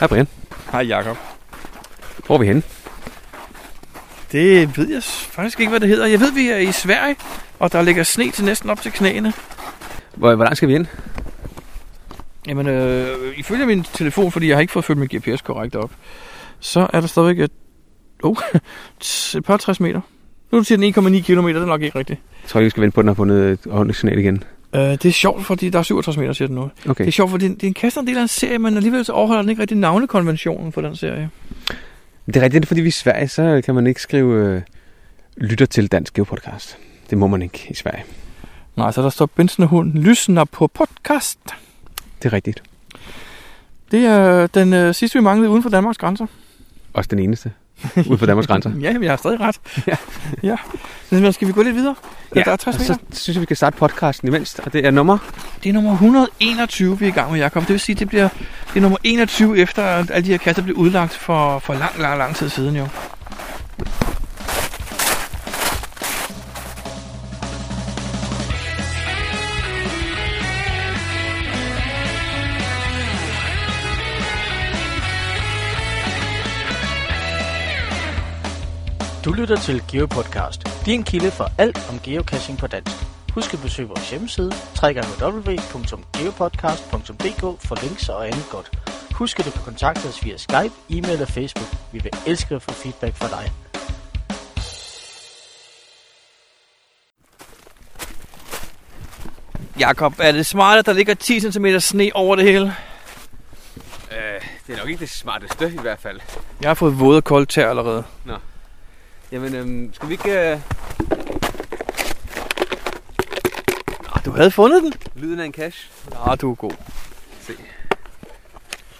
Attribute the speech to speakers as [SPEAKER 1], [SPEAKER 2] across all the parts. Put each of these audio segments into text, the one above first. [SPEAKER 1] Hej Brian.
[SPEAKER 2] Hej Jakob.
[SPEAKER 1] Hvor er vi henne?
[SPEAKER 2] Det ved jeg s- faktisk ikke, hvad det hedder. Jeg ved, vi er i Sverige, og der ligger sne til næsten op til knæene.
[SPEAKER 1] Hvor, hvor langt skal vi ind?
[SPEAKER 2] Jamen, øh, ifølge min telefon, fordi jeg har ikke fået fyldt min GPS korrekt op, så er der stadigvæk et, oh, et par 60 meter. Nu siger den 1,9 km, det er nok ikke rigtigt.
[SPEAKER 1] Jeg tror ikke, vi skal vente på, at den har fundet et ordentligt signal igen.
[SPEAKER 2] Øh, det er sjovt, fordi der er 67 meter, siger den nu.
[SPEAKER 1] Okay.
[SPEAKER 2] Det er sjovt, fordi den, den kaster en del af en serie, men alligevel så overholder den ikke rigtig navnekonventionen for den serie.
[SPEAKER 1] Det er rigtigt, det er, fordi vi er i Sverige, så kan man ikke skrive øh, lytter til dansk geopodcast. Det må man ikke i Sverige.
[SPEAKER 2] Nej, så der står Bensende Hund Lysner på podcast.
[SPEAKER 1] Det er rigtigt.
[SPEAKER 2] Det er den øh, sidste, vi manglede uden for Danmarks grænser.
[SPEAKER 1] Også den eneste. Ude for Danmarks grænser.
[SPEAKER 2] Ja, men jeg har stadig ret. Altså. ja. ja. Men skal vi gå lidt videre? Ja. altså- Der er 60
[SPEAKER 1] og
[SPEAKER 2] meter.
[SPEAKER 1] så synes jeg, vi kan starte podcasten imens. Og det er nummer...
[SPEAKER 2] Det er nummer 121, vi er i gang med, Jacob. Det vil sige, det bliver det er nummer 21 efter, at alle de her kasser blev udlagt for, for lang, lang, lang tid siden jo.
[SPEAKER 3] Du lytter til GeoPodcast, din kilde for alt om geocaching på dansk. Husk at besøge vores hjemmeside, www.geopodcast.dk for links og andet godt. Husk at du kan kontakte os via Skype, e-mail og Facebook. Vi vil elske at få feedback fra dig.
[SPEAKER 2] Jakob, er det smart, at der ligger 10 cm sne over det hele?
[SPEAKER 1] Øh, det er nok ikke det smarteste i hvert fald.
[SPEAKER 2] Jeg har fået våde kolde tær allerede.
[SPEAKER 1] Jamen, øhm, skal vi ikke... Øh,
[SPEAKER 2] Ah, Du havde fundet den?
[SPEAKER 1] lyden af en cash?
[SPEAKER 2] Ja, du er god.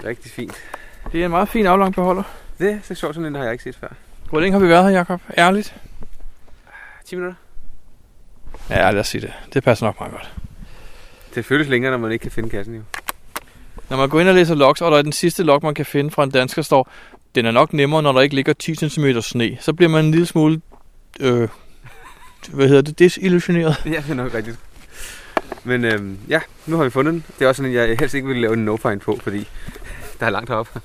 [SPEAKER 1] Rigtig fint.
[SPEAKER 2] Det er en meget fin aflang beholder.
[SPEAKER 1] Det er så sjovt, sådan en har jeg ikke set før.
[SPEAKER 2] Hvor længe har vi været her, Jakob? Ærligt?
[SPEAKER 1] 10 minutter.
[SPEAKER 2] Ja, lad os sige det. Det passer nok meget godt.
[SPEAKER 1] Det føles længere, når man ikke kan finde kassen jo.
[SPEAKER 2] Når man går ind og læser logs, og der er den sidste log, man kan finde fra en dansker, står, den er nok nemmere, når der ikke ligger 10 cm sne. Så bliver man en lille smule, øh, hvad hedder det, desillusioneret.
[SPEAKER 1] Ja, det er nok rigtigt. Men øhm, ja, nu har vi fundet den. Det er også sådan, en, jeg helst ikke vil lave en no-find på, fordi der er langt heroppe.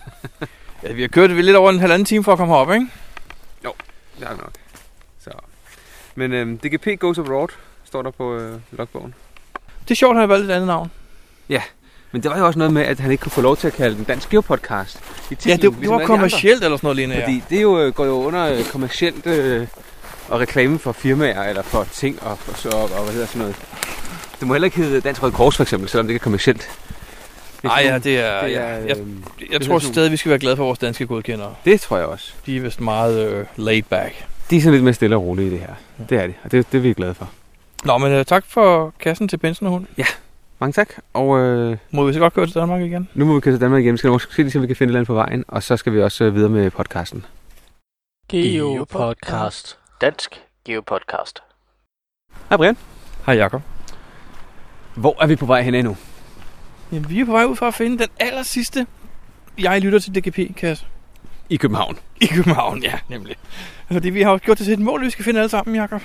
[SPEAKER 2] Ja, vi har kørt lidt over en halvanden time for at komme herop, ikke?
[SPEAKER 1] Ja, nok. Så. Men øhm, DGP Goes Abroad står der på øh, logbogen.
[SPEAKER 2] Det er sjovt, at han har valgt et andet navn.
[SPEAKER 1] Men der var jo også noget med, at han ikke kunne få lov til at kalde den Dansk Geopodcast. I titlen, ligesom
[SPEAKER 2] Ja, det, det var kommercielt eller sådan noget lignende.
[SPEAKER 1] Fordi
[SPEAKER 2] Fordi...
[SPEAKER 1] det jo, øh, går jo under øh, kommercielt øh, og reklame for firmaer eller for ting og, og, så, og, og hvad hedder sådan noget. Det må heller ikke hedde Dansk Røde Kors for eksempel, selvom det ikke er kommercielt. Det er
[SPEAKER 2] Nej,
[SPEAKER 1] sådan-
[SPEAKER 2] ja, det er...
[SPEAKER 1] det
[SPEAKER 2] Ja,
[SPEAKER 1] er,
[SPEAKER 2] jeg,
[SPEAKER 1] øh,
[SPEAKER 2] jeg,
[SPEAKER 1] det
[SPEAKER 2] jeg
[SPEAKER 1] er
[SPEAKER 2] tror
[SPEAKER 1] sådan-
[SPEAKER 2] stadig, vi skal være glade for vores danske godkendere.
[SPEAKER 1] det tror jeg også.
[SPEAKER 2] De er vist meget øh, laid back.
[SPEAKER 1] De er sådan lidt mere stille og rolige i det her. Det er de, og det, det er vi glade for.
[SPEAKER 2] Nå, men øh, tak for kassen til Benson og hun.
[SPEAKER 1] Mange tak, og øh,
[SPEAKER 2] Må vi så godt køre til Danmark igen?
[SPEAKER 1] nu må vi køre til Danmark igen. Vi skal måske se, om vi kan finde et eller andet på vejen, og så skal vi også øh, videre med podcasten.
[SPEAKER 3] GeoPodcast. Dansk GeoPodcast.
[SPEAKER 1] Hej Brian.
[SPEAKER 2] Hej Jakob.
[SPEAKER 1] Hvor er vi på vej hen endnu?
[SPEAKER 2] Jamen, vi er på vej ud for at finde den aller sidste jeg lytter til DGP, kasse.
[SPEAKER 1] I København.
[SPEAKER 2] I København, ja, nemlig. Fordi vi har jo gjort det til et mål, vi skal finde alle sammen, Jakob.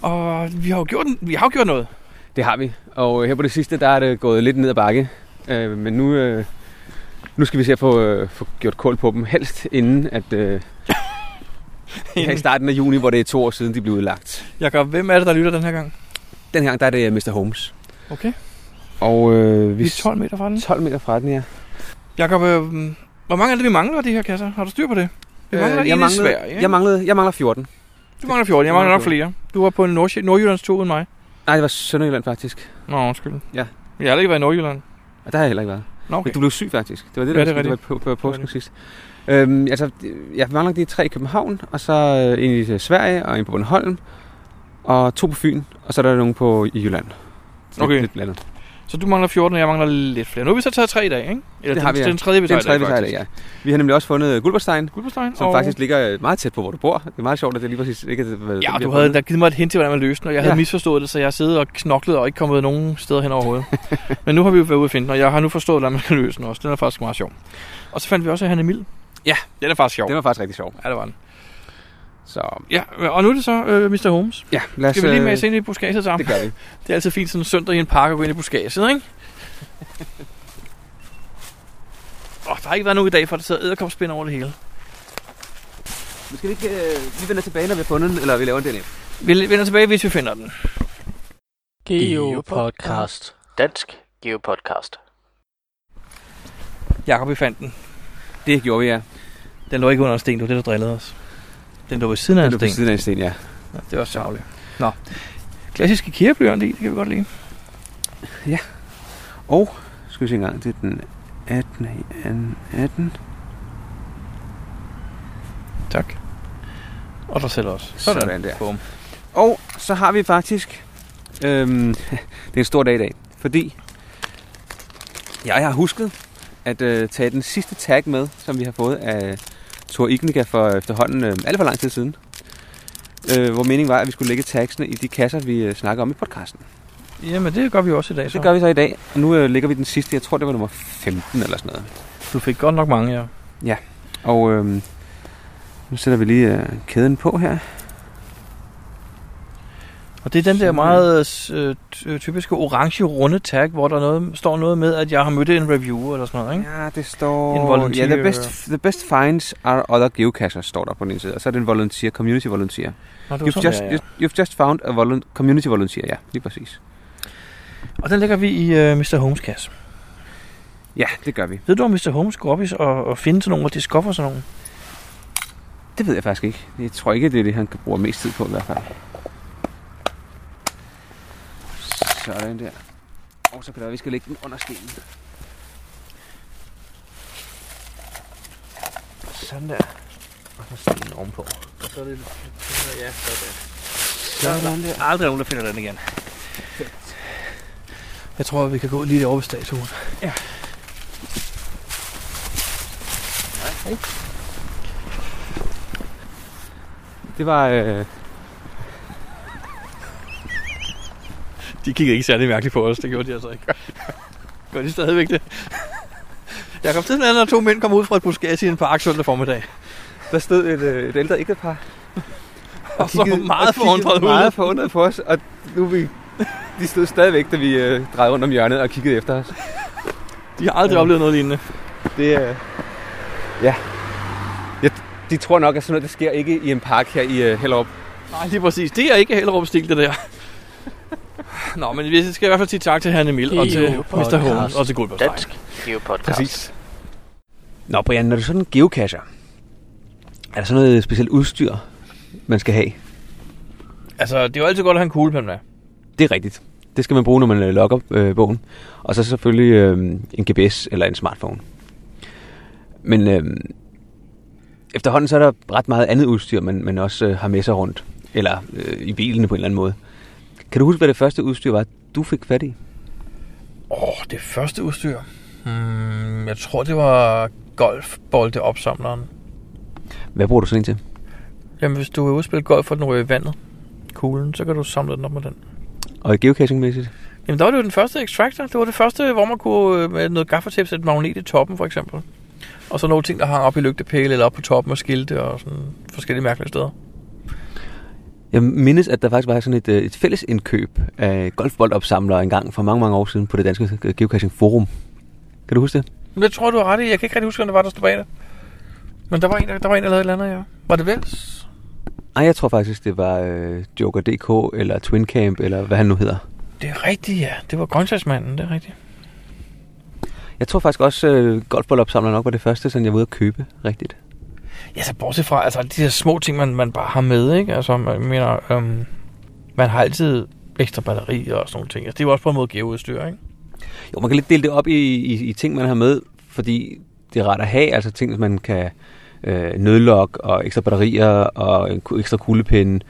[SPEAKER 2] Og vi har jo gjort, vi har jo gjort noget.
[SPEAKER 1] Det har vi, og øh, her på det sidste, der er det gået lidt ned ad bakke. Øh, men nu, øh, nu skal vi se at få, øh, få gjort kål på dem, helst inden at... Øh, her i starten af juni, hvor det er to år siden, de blev udlagt.
[SPEAKER 2] Jakob, hvem er det, der lytter den her gang?
[SPEAKER 1] Den her gang, der er det øh, Mr. Holmes.
[SPEAKER 2] Okay,
[SPEAKER 1] Og øh,
[SPEAKER 2] vi er 12 meter fra den.
[SPEAKER 1] 12 meter fra den, ja.
[SPEAKER 2] Jakob, øh, hvor mange er det, vi mangler af de her kasser? Har du styr på det? Vi mangler øh,
[SPEAKER 1] jeg,
[SPEAKER 2] en i
[SPEAKER 1] manglede,
[SPEAKER 2] Sverige, ikke?
[SPEAKER 1] jeg, manglede, jeg mangler 14.
[SPEAKER 2] Du mangler 14, jeg mangler nok flere. Du var på en Nordsjæ- Nordjyllands tog uden mig.
[SPEAKER 1] Nej, det var Sønderjylland faktisk.
[SPEAKER 2] Nå, undskyld.
[SPEAKER 1] Ja.
[SPEAKER 2] Jeg har aldrig været i Nordjylland.
[SPEAKER 1] Og der har jeg heller ikke været.
[SPEAKER 2] Nå,
[SPEAKER 1] Okay.
[SPEAKER 2] okay.
[SPEAKER 1] Du blev syg faktisk. Det var det,
[SPEAKER 2] Ja,
[SPEAKER 1] der
[SPEAKER 2] det er
[SPEAKER 1] ja, det var på, på, på påsken sidst. Øhm, altså, jeg mangler de tre i København, og så øh, en i Sverige, og en på Bornholm, og to på Fyn, og så er der nogen på i Jylland. Så
[SPEAKER 2] Okay.
[SPEAKER 1] Lidt, lidt blandet.
[SPEAKER 2] Så du mangler 14, og jeg mangler lidt flere. Nu har vi så taget tre i dag, ikke? Eller
[SPEAKER 1] Det har
[SPEAKER 2] den,
[SPEAKER 1] vi, ja.
[SPEAKER 2] den tredje, vi
[SPEAKER 1] Det er
[SPEAKER 2] tager
[SPEAKER 1] en tredje, vi tager i dag,
[SPEAKER 2] faktisk.
[SPEAKER 1] ja. Vi har nemlig også fundet Guldbergstein,
[SPEAKER 2] Guldbestein
[SPEAKER 1] som
[SPEAKER 2] og...
[SPEAKER 1] faktisk ligger øh, meget tæt på, hvor du bor. Det er meget sjovt, at det lige præcis ikke er... hvad-
[SPEAKER 2] Ja,
[SPEAKER 1] vi
[SPEAKER 2] du
[SPEAKER 1] har
[SPEAKER 2] havde
[SPEAKER 1] fundet.
[SPEAKER 2] da givet mig et hint til, hvordan man løste den, og jeg havde
[SPEAKER 1] Ja.
[SPEAKER 2] misforstået det, så jeg sidder og knoklet og ikke kommet nogen steder hen overhovedet. Men nu har vi jo været ude at finde den, og jeg har nu forstået, hvordan man kan løse den også. Den er faktisk meget sjov. Og så fandt vi også Hanne Emil.
[SPEAKER 1] Ja.
[SPEAKER 2] den er faktisk sjov.
[SPEAKER 1] Den var faktisk rigtig sjov.
[SPEAKER 2] Ja, det var den.
[SPEAKER 1] Så
[SPEAKER 2] Ja, og nu er det så øh, Mr. Holmes.
[SPEAKER 1] ja, lad os...
[SPEAKER 2] Skal vi lige
[SPEAKER 1] øh,
[SPEAKER 2] med os ind i buskaget sammen?
[SPEAKER 1] Det gør vi.
[SPEAKER 2] Altså, Det er altid fint sådan en søndag i en park at gå ind i buskaget, ikke? Åh, oh, der har ikke været nogen i dag, for der sidder æderkopspind over det hele.
[SPEAKER 1] Men skal vi ikke øh, vi vender tilbage, når vi har fundet den, eller vi laver en del af?
[SPEAKER 2] Vi vender tilbage, hvis vi finder den.
[SPEAKER 3] Geopodcast. Dansk Geopodcast.
[SPEAKER 2] Jakob, vi fandt den.
[SPEAKER 1] Det gjorde vi, ja.
[SPEAKER 2] Den lå ikke under en sten, det var det, der drillede os. Den lå ved siden af
[SPEAKER 1] Den
[SPEAKER 2] en
[SPEAKER 1] lå på
[SPEAKER 2] sten.
[SPEAKER 1] siden af en sten, ja.
[SPEAKER 2] Ja, det var sørgeligt. Nå. Klassiske kirreblyant i, det kan vi godt lide.
[SPEAKER 1] Og, skal vi se en gang, det er den 18. i anden- 18.
[SPEAKER 2] Tak. Og dig selv også.
[SPEAKER 1] Sådan der.
[SPEAKER 2] Bum.
[SPEAKER 1] Og så har vi faktisk... Øhm, det er en stor dag i dag, fordi jeg har husket at øh, tage den sidste tag med, som vi har fået af Tor Ignica for efterhånden øh, alt for lang tid siden. Øh, hvor meningen var, at vi skulle lægge tagsene i de kasser, vi øh, snakker om i podcasten.
[SPEAKER 2] Jamen, det gør vi også i dag. Så.
[SPEAKER 1] Det gør vi så i dag, og nu øh, lægger vi den sidste. Jeg tror, det var nummer 15 eller sådan noget.
[SPEAKER 2] Du fik godt nok mange, ja.
[SPEAKER 1] Og øhm, nu sætter vi lige øh, kæden på her.
[SPEAKER 2] Og det er den der
[SPEAKER 1] Sådan.
[SPEAKER 2] meget øh, ty- typiske orange runde tag, hvor der noget, står noget med, at jeg har mødt en reviewer eller sådan noget, ikke?
[SPEAKER 1] Ja, det står...
[SPEAKER 2] En volunteer-
[SPEAKER 1] Ja, the best, the best finds are other geocachers, står der på den ene side. Og så er det en volunteer, community volunteer.
[SPEAKER 2] Nå, det var
[SPEAKER 1] You've
[SPEAKER 2] sådan,
[SPEAKER 1] just,
[SPEAKER 2] ja, ja.
[SPEAKER 1] just, you've just found a volun- community volunteer, ja, lige præcis.
[SPEAKER 2] Og den lægger vi i øh, Mr. Holmes kasse.
[SPEAKER 1] Ja, det gør vi.
[SPEAKER 2] Ved du, om Mr. Holmes går op i s- og, og finder sådan nogle, og det skuffer sådan nogle?
[SPEAKER 1] Det ved jeg faktisk ikke. Jeg tror ikke, det er det, han kan bruge mest tid på i hvert fald. Sådan der. Og så kan det være, vi skal lægge den under stenen.
[SPEAKER 2] Sådan der.
[SPEAKER 1] Og så stenen ovenpå.
[SPEAKER 2] Og så er det, ja, sådan
[SPEAKER 1] Sådan der.
[SPEAKER 2] der. Aldrig nogen, der finder den igen. Jeg tror, vi kan gå lige derovre ved statuen.
[SPEAKER 1] Det var... Øh,
[SPEAKER 2] De kiggede ikke særlig mærkeligt på os, det gjorde de altså ikke. Gør de stadigvæk det? Jeg kom til den anden, og to mænd kom ud fra et buskage i en park søndag formiddag.
[SPEAKER 1] der stod et, øh, et ældre ægtepar
[SPEAKER 2] Og så
[SPEAKER 1] og
[SPEAKER 2] meget
[SPEAKER 1] kiggede
[SPEAKER 2] forundret ud.
[SPEAKER 1] meget forundret på os, og nu er vi, de stod stadigvæk, da vi øh, drejede rundt om hjørnet og kiggede efter os.
[SPEAKER 2] De har aldrig
[SPEAKER 1] Ja.
[SPEAKER 2] oplevet noget lignende.
[SPEAKER 1] Det er... Øh, ja. Jeg, de tror nok, at sådan noget det sker ikke i en park her i øh, Hellerup.
[SPEAKER 2] Nej, lige præcis. Det er ikke Hellerup stil, det der. Nå, men vi skal i hvert fald sige tak til Hanne Emil og til
[SPEAKER 3] Geopodcast.
[SPEAKER 2] Mr. Holmes og til Guldberg Stein.
[SPEAKER 3] Dansk Geopodcast.
[SPEAKER 1] Præcis. Nå, Brian, når du sådan geocacher, er der sådan noget specielt udstyr, man skal have?
[SPEAKER 2] Altså, det er jo altid godt at have en kuglepen med.
[SPEAKER 1] Det er rigtigt. Det skal man bruge, når man øh, logger øh, bogen. Og så selvfølgelig øh, en GPS eller en smartphone. Men øh, efterhånden så er der ret meget andet udstyr, man, man også øh, har med sig rundt. Eller øh, i bilen på en eller anden måde. Kan du huske, hvad det første udstyr var, du fik fat i?
[SPEAKER 2] Åh, oh, det første udstyr. Hmm, jeg tror, det var golfboldeopsamleren.
[SPEAKER 1] Hvad bruger du sådan en til?
[SPEAKER 2] Jamen, hvis du vil udspille golf, og den ryger i vandet, kuglen, så kan du samle den op med den.
[SPEAKER 1] Og geocaching-mæssigt?
[SPEAKER 2] Jamen, der var det jo den første extractor. Det var det første, hvor man kunne øh, med noget gaffatape sætte magnet i toppen, for eksempel. Og så nogle ting, der hang op i lygtepæle eller op på toppen af skilte og sådan forskellige mærkelige steder.
[SPEAKER 1] Jeg mindes, at der faktisk var sådan et, øh, et fælles indkøb af golfboldopsamlere engang for mange, mange år siden på det danske øh, Geocaching Forum. Kan du huske det?
[SPEAKER 2] Men det tror du har ret i. Jeg kan ikke rigtig huske, hvem det var, der stod bag det. Men der var en, der, der, var en, der lavede et eller andet, ja. Var det Vels?
[SPEAKER 1] Ej, jeg tror faktisk, det var øh, Joker.dk eller Twin Camp, eller hvad han nu hedder.
[SPEAKER 2] Det er rigtigt, ja. Det var grøntsagsmanden, det er rigtigt.
[SPEAKER 1] Jeg tror faktisk også, øh, golfboldopsamler nok var det første, sådan jeg var ude at købe rigtigt.
[SPEAKER 2] Ja, så bortset fra, altså de der små ting, man, man bare har med, ikke? Altså, man, mener, øhm, man har altid ekstra batterier og sådan nogle ting. Altså, det er jo også på en måde gaveudstyr, ikke?
[SPEAKER 1] Jo, man kan lidt dele det op i, i, i ting, man har med, fordi det er rart at have, altså ting, man kan øh, nødlok og ekstra batterier og en ku- ekstra kuglepinde.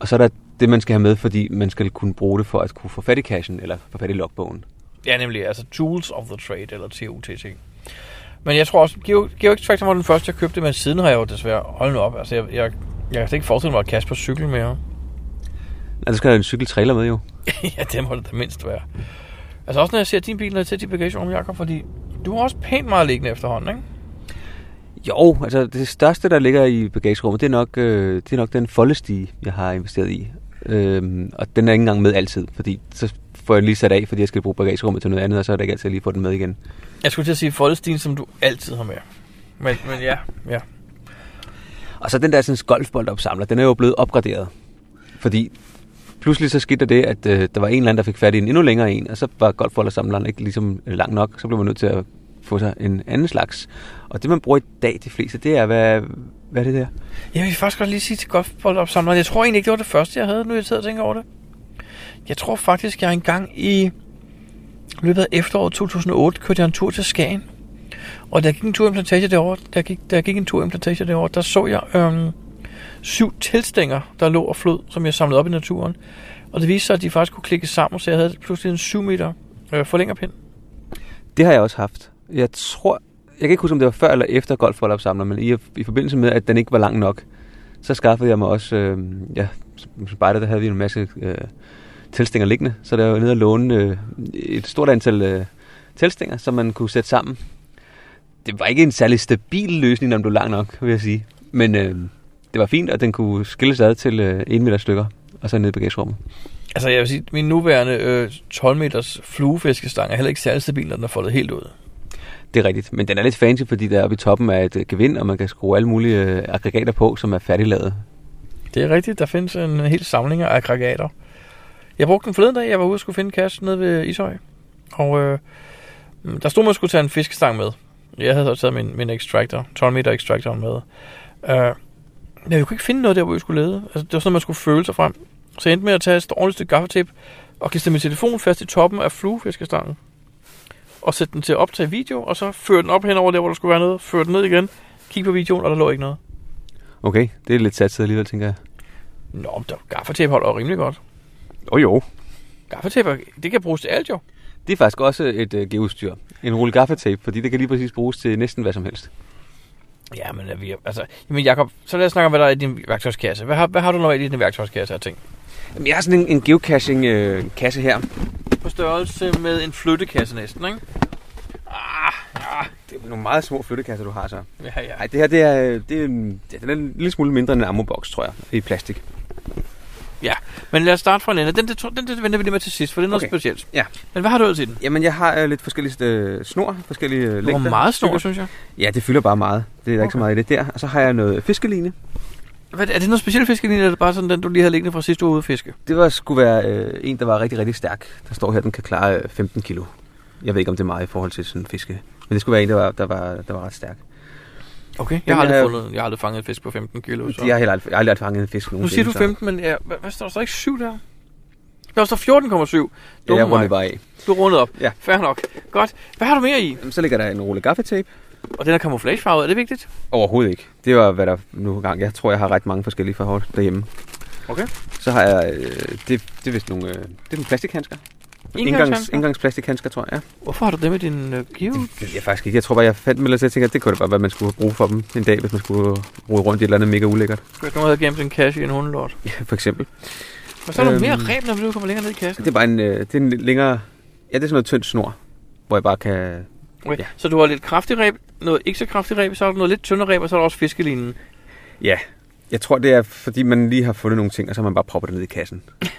[SPEAKER 1] Og så er der det, man skal have med, fordi man skal kunne bruge det for at kunne få fat i cashen eller få fat i logbogen.
[SPEAKER 2] Ja, nemlig, altså Tools of the Trade, eller TOTT. Men jeg tror også, Geo- GeoX Factor var den første, jeg købte, men siden har jeg jo desværre, hold nu op, altså jeg, jeg, jeg kan slet ikke forestille mig at kaste på cykel mere.
[SPEAKER 1] Altså, skal der en cykeltrailer med jo.
[SPEAKER 2] ja, det må det da mindst være. Altså også når jeg ser din bil, når jeg ser dit bagagerum, Jacob, fordi du har også pænt meget liggende efterhånden, ikke?
[SPEAKER 1] Jo, altså det største, der ligger i bagagerummet, det er nok, øh, det er nok den foldestige, jeg har investeret i. Øhm, og den er ikke engang med altid, fordi så får jeg lige sat af, fordi jeg skal bruge bagagerummet til noget andet, og så er det ikke altid lige få den med igen.
[SPEAKER 2] Jeg skulle til at sige Foldestien, som du altid har med. Men, men ja, ja.
[SPEAKER 1] Og så den der sådan, golfboldopsamler, den er jo blevet opgraderet. Fordi pludselig så skete der det, at øh, der var en eller anden, der fik fat i en endnu længere en, og så var golfboldopsamleren ikke ligesom lang nok. Så blev man nødt til at få sig en anden slags. Og det, man bruger i dag, de fleste, det er, hvad, hvad er det der?
[SPEAKER 2] Jeg vil faktisk godt lige sige til golfboldopsamleren, jeg tror egentlig ikke, det var det første, jeg havde, nu jeg sidder og tænker over det. Jeg tror faktisk, jeg engang i løbet af efteråret 2008 kørte jeg en tur til Skagen. Og der gik en tur i Plantage derovre, der gik, der gik en tur i Plantage derovre, der så jeg øhm, syv teltstænger, der lå og flød, som jeg samlede op i naturen. Og det viste sig, at de faktisk kunne klikke sammen, så jeg havde pludselig en 7 meter øh, forlængerpind.
[SPEAKER 1] Det har jeg også haft. Jeg tror, jeg kan ikke huske, om det var før eller efter golfboldopsamler, men i, i forbindelse med, at den ikke var lang nok, så skaffede jeg mig også, øh, ja, som spejder, der havde vi en masse øh, telstænger liggende, så der var jeg nede og låne øh, et stort antal øh, telstænger, som man kunne sætte sammen. Det var ikke en særlig stabil løsning, når den blev lang nok, vil jeg sige. Men øh, det var fint, at den kunne skilles ad til øh, 1 meter stykker, og så ned i bagagerummet.
[SPEAKER 2] Altså jeg vil sige, min nuværende øh, 12 meters fluefiskestang er heller ikke særlig stabil, når den er foldet helt ud.
[SPEAKER 1] Det er rigtigt, men den er lidt fancy, fordi der oppe i toppen er et øh, gevind, og man kan skrue alle mulige øh, aggregater på, som er færdiglavet.
[SPEAKER 2] Det er rigtigt, der findes en hel samling af aggregater. Jeg brugte den forleden dag, jeg var ude og skulle finde kassen nede ved Ishøj. Og øh, der stod, man skulle tage en fiskestang med. Jeg havde så taget min, min extractor, 12 meter extractor med. Øh, men jeg kunne ikke finde noget der, hvor jeg skulle lede. Altså, det var sådan, at man skulle føle sig frem. Så jeg endte med at tage et ordentligt stykke gaffatape og klistre min telefon fast i toppen af fluefiskestangen. Og sætte den til at optage video, og så føre den op henover der, hvor der skulle være noget. Føre den ned igen, kigge på videoen, og der lå ikke noget.
[SPEAKER 1] Okay, det er lidt satset alligevel, tænker jeg.
[SPEAKER 2] Nå, men der gaffatape holder jo rimelig godt.
[SPEAKER 1] Åh oh, jo.
[SPEAKER 2] Gaffatape, det kan bruges til alt jo.
[SPEAKER 1] Det er faktisk også et øh, geostyr. En rulle gaffatape, fordi det kan lige præcis bruges til næsten hvad som helst.
[SPEAKER 2] Ja, men er vi, altså, jamen Jacob, så lad os snakke om, hvad der er i din værktøjskasse. Hvad har, hvad har du normalt i din værktøjskasse af ting?
[SPEAKER 1] Jamen, jeg har sådan en, en geocaching-kasse her.
[SPEAKER 2] På størrelse med en flyttekasse næsten, ikke? Ah, ja,
[SPEAKER 1] Det er nogle meget små flyttekasser, du har så.
[SPEAKER 2] ja, ja.
[SPEAKER 1] Nej, det her det er, øh, det, er, en- ja, den er en lille smule mindre end en ammobox, tror jeg, i plastik.
[SPEAKER 2] ja. Men lad os starte fra en ende. Den, den, den, den vender vi lige med til sidst, for det er noget
[SPEAKER 1] Okay.
[SPEAKER 2] okay. specielt.
[SPEAKER 1] Ja.
[SPEAKER 2] Men hvad har du ellers i den?
[SPEAKER 1] Jamen, jeg har øh, lidt forskellige øh, snor, forskellige øh,
[SPEAKER 2] Det var
[SPEAKER 1] længder.
[SPEAKER 2] meget stor, synes jeg.
[SPEAKER 1] Ja, det fylder bare meget. Det er der okay. ikke så
[SPEAKER 2] Okay.
[SPEAKER 1] meget i det der. Og så har jeg noget fiskeline.
[SPEAKER 2] Hvad, er det noget specielt fiskelinje, eller er det bare sådan den, du lige havde liggende fra sidste uge ude at fiske?
[SPEAKER 1] Det var skulle være øh, en, der var rigtig, rigtig stærk. Der står her, den kan klare øh, 15 kilo. Jeg ved ikke, om det er meget i forhold til sådan en fiske. Men det skulle være en, der var, der var, der var ret stærk.
[SPEAKER 2] Okay. øh,
[SPEAKER 1] Den
[SPEAKER 2] Jeg har, aldrig
[SPEAKER 1] er-
[SPEAKER 2] fundet, jeg har aldrig fanget et fisk på 15 kilo. Så.
[SPEAKER 1] De har heller aldrig, jeg har aldrig fanget en fisk
[SPEAKER 2] nu
[SPEAKER 1] nogensinde.
[SPEAKER 2] siger du
[SPEAKER 1] så-
[SPEAKER 2] 15, men ja, hvad, hvad står der? Står der ikke 7 der? Der står 14,7.
[SPEAKER 1] Ja,
[SPEAKER 2] Dumme
[SPEAKER 1] jeg runder
[SPEAKER 2] mig.
[SPEAKER 1] bare af.
[SPEAKER 2] Du rundede op.
[SPEAKER 1] Ja.
[SPEAKER 2] Fair nok. Godt. Hvad har du mere i?
[SPEAKER 1] Jamen, Så ligger der en rulle gaffatape.
[SPEAKER 2] Og den er camouflagefarvet, er det vigtigt?
[SPEAKER 1] Overhovedet ikke. Det var, hvad der nu gang. Jeg tror, jeg har ret mange forskellige forhold derhjemme.
[SPEAKER 2] Okay.
[SPEAKER 1] Så har jeg, øh, det, det er vist nogle, øh, det er nogle plastikhandsker.
[SPEAKER 2] Engangshandsker?
[SPEAKER 1] engangsplastikhandsker, tror jeg.
[SPEAKER 2] Hvorfor har du det med din uh, give?
[SPEAKER 1] Det ved jeg faktisk ikke. Jeg tror bare, jeg fandt dem, eller så jeg tænkte, at det kunne da bare være, at man skulle bruge for dem en dag, hvis man skulle bruge rundt i et eller andet mega ulækkert.
[SPEAKER 2] Hvis nogen havde gemt en kasse i en hundelort.
[SPEAKER 1] Ja, for eksempel.
[SPEAKER 2] Men så er der
[SPEAKER 1] Øhm.
[SPEAKER 2] mere reb, når du kommer længere ned i kassen.
[SPEAKER 1] Det er bare en, øh, det er en lidt længere... Ja, det er sådan noget tyndt snor, hvor jeg bare kan...
[SPEAKER 2] Okay.
[SPEAKER 1] Ja.
[SPEAKER 2] Ja. Så du har lidt kraftig reb, noget ikke så kraftig reb, så har du noget lidt tyndere reb, og så er der også fiskelinen.
[SPEAKER 1] Ja, jeg tror, det er, fordi man lige har fundet nogle ting, og så har man bare proppet det ned i kassen.
[SPEAKER 2] Det,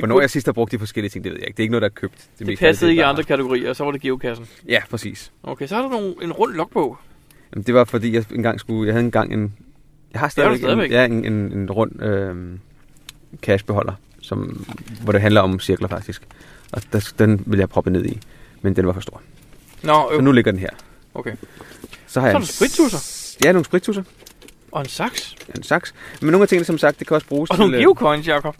[SPEAKER 1] Hvornår
[SPEAKER 2] kunne-
[SPEAKER 1] jeg sidst har brugt de forskellige ting, det ved jeg ikke. Det er ikke noget, der er købt. meste af
[SPEAKER 2] det passede ikke i
[SPEAKER 1] bare-
[SPEAKER 2] andre kategorier, og så var det geokassen.
[SPEAKER 1] Ja, præcis.
[SPEAKER 2] Okay, så har du nogle, en rund logbog.
[SPEAKER 1] Jamen, det var fordi, jeg engang skulle... Jeg havde engang en... Jeg har stadigvæk,
[SPEAKER 2] stadigvæk?
[SPEAKER 1] En, ja, en, en, en rund øh, cashbeholder, som, hvor det handler om cirkler faktisk. Og der, den vil jeg proppe ned i, men den var for stor.
[SPEAKER 2] Nå,
[SPEAKER 1] Så
[SPEAKER 2] øh,
[SPEAKER 1] nu ligger den her.
[SPEAKER 2] okay.
[SPEAKER 1] Så har jeg
[SPEAKER 2] Så er
[SPEAKER 1] en-
[SPEAKER 2] der sprittusser.
[SPEAKER 1] Ja, nogle sprittusser.
[SPEAKER 2] Og en saks.
[SPEAKER 1] En saks. Men nogle af tingene, som sagt, det kan også bruges
[SPEAKER 2] Og
[SPEAKER 1] til...
[SPEAKER 2] nogle
[SPEAKER 1] øh,
[SPEAKER 2] geocoins, Jacob.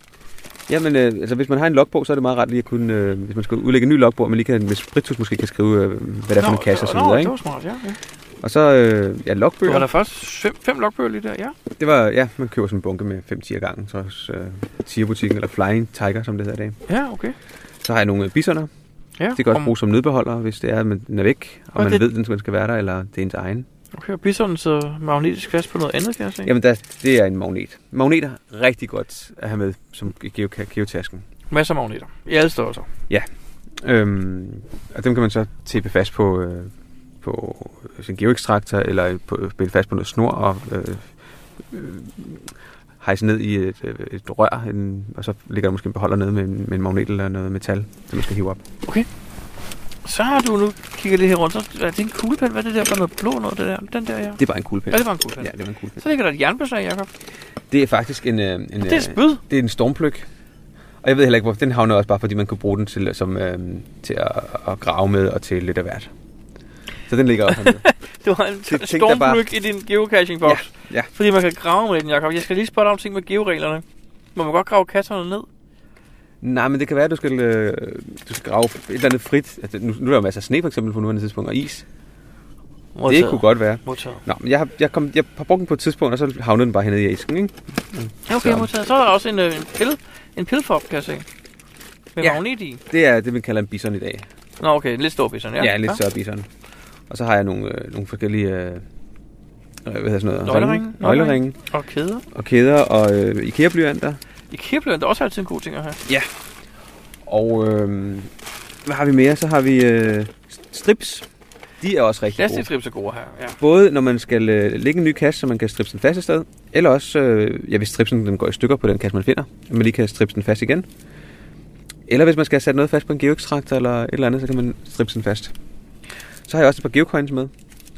[SPEAKER 1] Jamen, øh, altså hvis man har en logbog, så er det meget rart lige at kunne, øh, hvis man skal udlægge en ny logbog, at man lige kan, med sprittus måske kan skrive, øh, hvad det er for en kasse og så
[SPEAKER 2] nå,
[SPEAKER 1] videre,
[SPEAKER 2] det
[SPEAKER 1] ikke?
[SPEAKER 2] var smart, ja. ja.
[SPEAKER 1] Og så, øh, ja,
[SPEAKER 2] Du
[SPEAKER 1] logbøger.
[SPEAKER 2] var der først fem, fem logbøger lige der, ja.
[SPEAKER 1] Det var, ja, man køber sådan en bunke med 5 tier gangen, så hos øh, tierbutikken, eller Flying Tiger, som det hedder i dag.
[SPEAKER 2] Ja, okay.
[SPEAKER 1] Så har jeg nogle øh, bisoner.
[SPEAKER 2] Ja,
[SPEAKER 1] Det kan også
[SPEAKER 2] om-
[SPEAKER 1] bruges som nødbeholder, hvis det er, at man- den er væk, og
[SPEAKER 2] Og
[SPEAKER 1] man
[SPEAKER 2] det-
[SPEAKER 1] ved, den skal- den skal være der, eller det er ens egen.
[SPEAKER 2] Okay, og bisonen så magnetisk fast på noget andet, kan jeg se.
[SPEAKER 1] Jamen, der, det er en magnet. Magneter er rigtig godt at have med som i geo- geotasken.
[SPEAKER 2] Masser af magneter. I alle størrelser.
[SPEAKER 1] Øhm, og dem kan man så tæppe fast på, øh, på sin geoekstraktor, eller på, binde fast på noget snor, og øh, øh, hejse ned i et, øh, et rør, en, og så ligger der måske en beholder nede med en, med en magnet eller noget metal, som man skal hive op.
[SPEAKER 2] Så har du nu kigger lidt her rundt. Så er det en kuglepen? Hvad er det der for noget blå noget, det der? Den der, ja.
[SPEAKER 1] Det er bare en kuglepen.
[SPEAKER 2] Ja, det var en kuglepen.
[SPEAKER 1] Ja,
[SPEAKER 2] Ja.
[SPEAKER 1] det var en kuglepen.
[SPEAKER 2] Så ligger der et jernbeslag, Jacob.
[SPEAKER 1] Det er faktisk en... Øh, en øh,
[SPEAKER 2] Det er et spyd.
[SPEAKER 1] det er en stormpløk. Og jeg ved heller ikke, hvorfor. Den havner også bare, fordi man kunne bruge den til, som, øh, til at, at, grave med og til lidt af hvert. Så den ligger også hernede.
[SPEAKER 2] Det var en
[SPEAKER 1] tænk dig
[SPEAKER 2] stormbryg i din geocaching-boks.
[SPEAKER 1] Ja, ja.
[SPEAKER 2] Fordi man kan grave med den, Jacob. Jeg skal lige spørge dig om ting med georeglerne. Må man godt grave katterne ned?
[SPEAKER 1] Nej, men det kan være, at du skal, øh, du skal grave et eller andet frit. Altså, nu, nu er der jo masser af sne for eksempel på nuværende tidspunkt, og is. Det kunne godt være.
[SPEAKER 2] Modtaget.
[SPEAKER 1] Nå, men jeg har, jeg, kom, jeg har brugt den på et tidspunkt, og så havnede den bare hernede i æsken, ikke?
[SPEAKER 2] Ja, okay,
[SPEAKER 1] Så-
[SPEAKER 2] modtaget. Så er der også en, øh, en pille. En pillefop, kan jeg se. Med
[SPEAKER 1] Ja.
[SPEAKER 2] ja. magnet i.
[SPEAKER 1] Det er det, man kalder en bison i dag.
[SPEAKER 2] Nå, okay. En lidt stor bison, ja.
[SPEAKER 1] Ja, lidt større bison. Og så har jeg nogle, øh, nogle forskellige... Øh, øh, hvad hedder sådan noget?
[SPEAKER 2] Nøgleringe.
[SPEAKER 1] Ringe. Nøgleringe.
[SPEAKER 2] Og kæder.
[SPEAKER 1] Og kæder og øh, IKEA-blyanter.
[SPEAKER 2] I Kirbløn, der er også altid en god ting at have.
[SPEAKER 1] Og øh, hvad har vi mere? Så har vi øh, strips. De er også rigtig gode.
[SPEAKER 2] Plastikstrips er gode her, ja.
[SPEAKER 1] Både når man skal øh, lægge en ny kasse, så man kan stripse den fast et sted, eller også, øh, ja, hvis stripsen den går i stykker på den kasse, man finder, at man lige kan stripse den fast igen. Eller hvis man skal have sat noget fast på en geoextrakt eller et eller andet, så kan man stripse den fast. Så har jeg også et par geocoins med.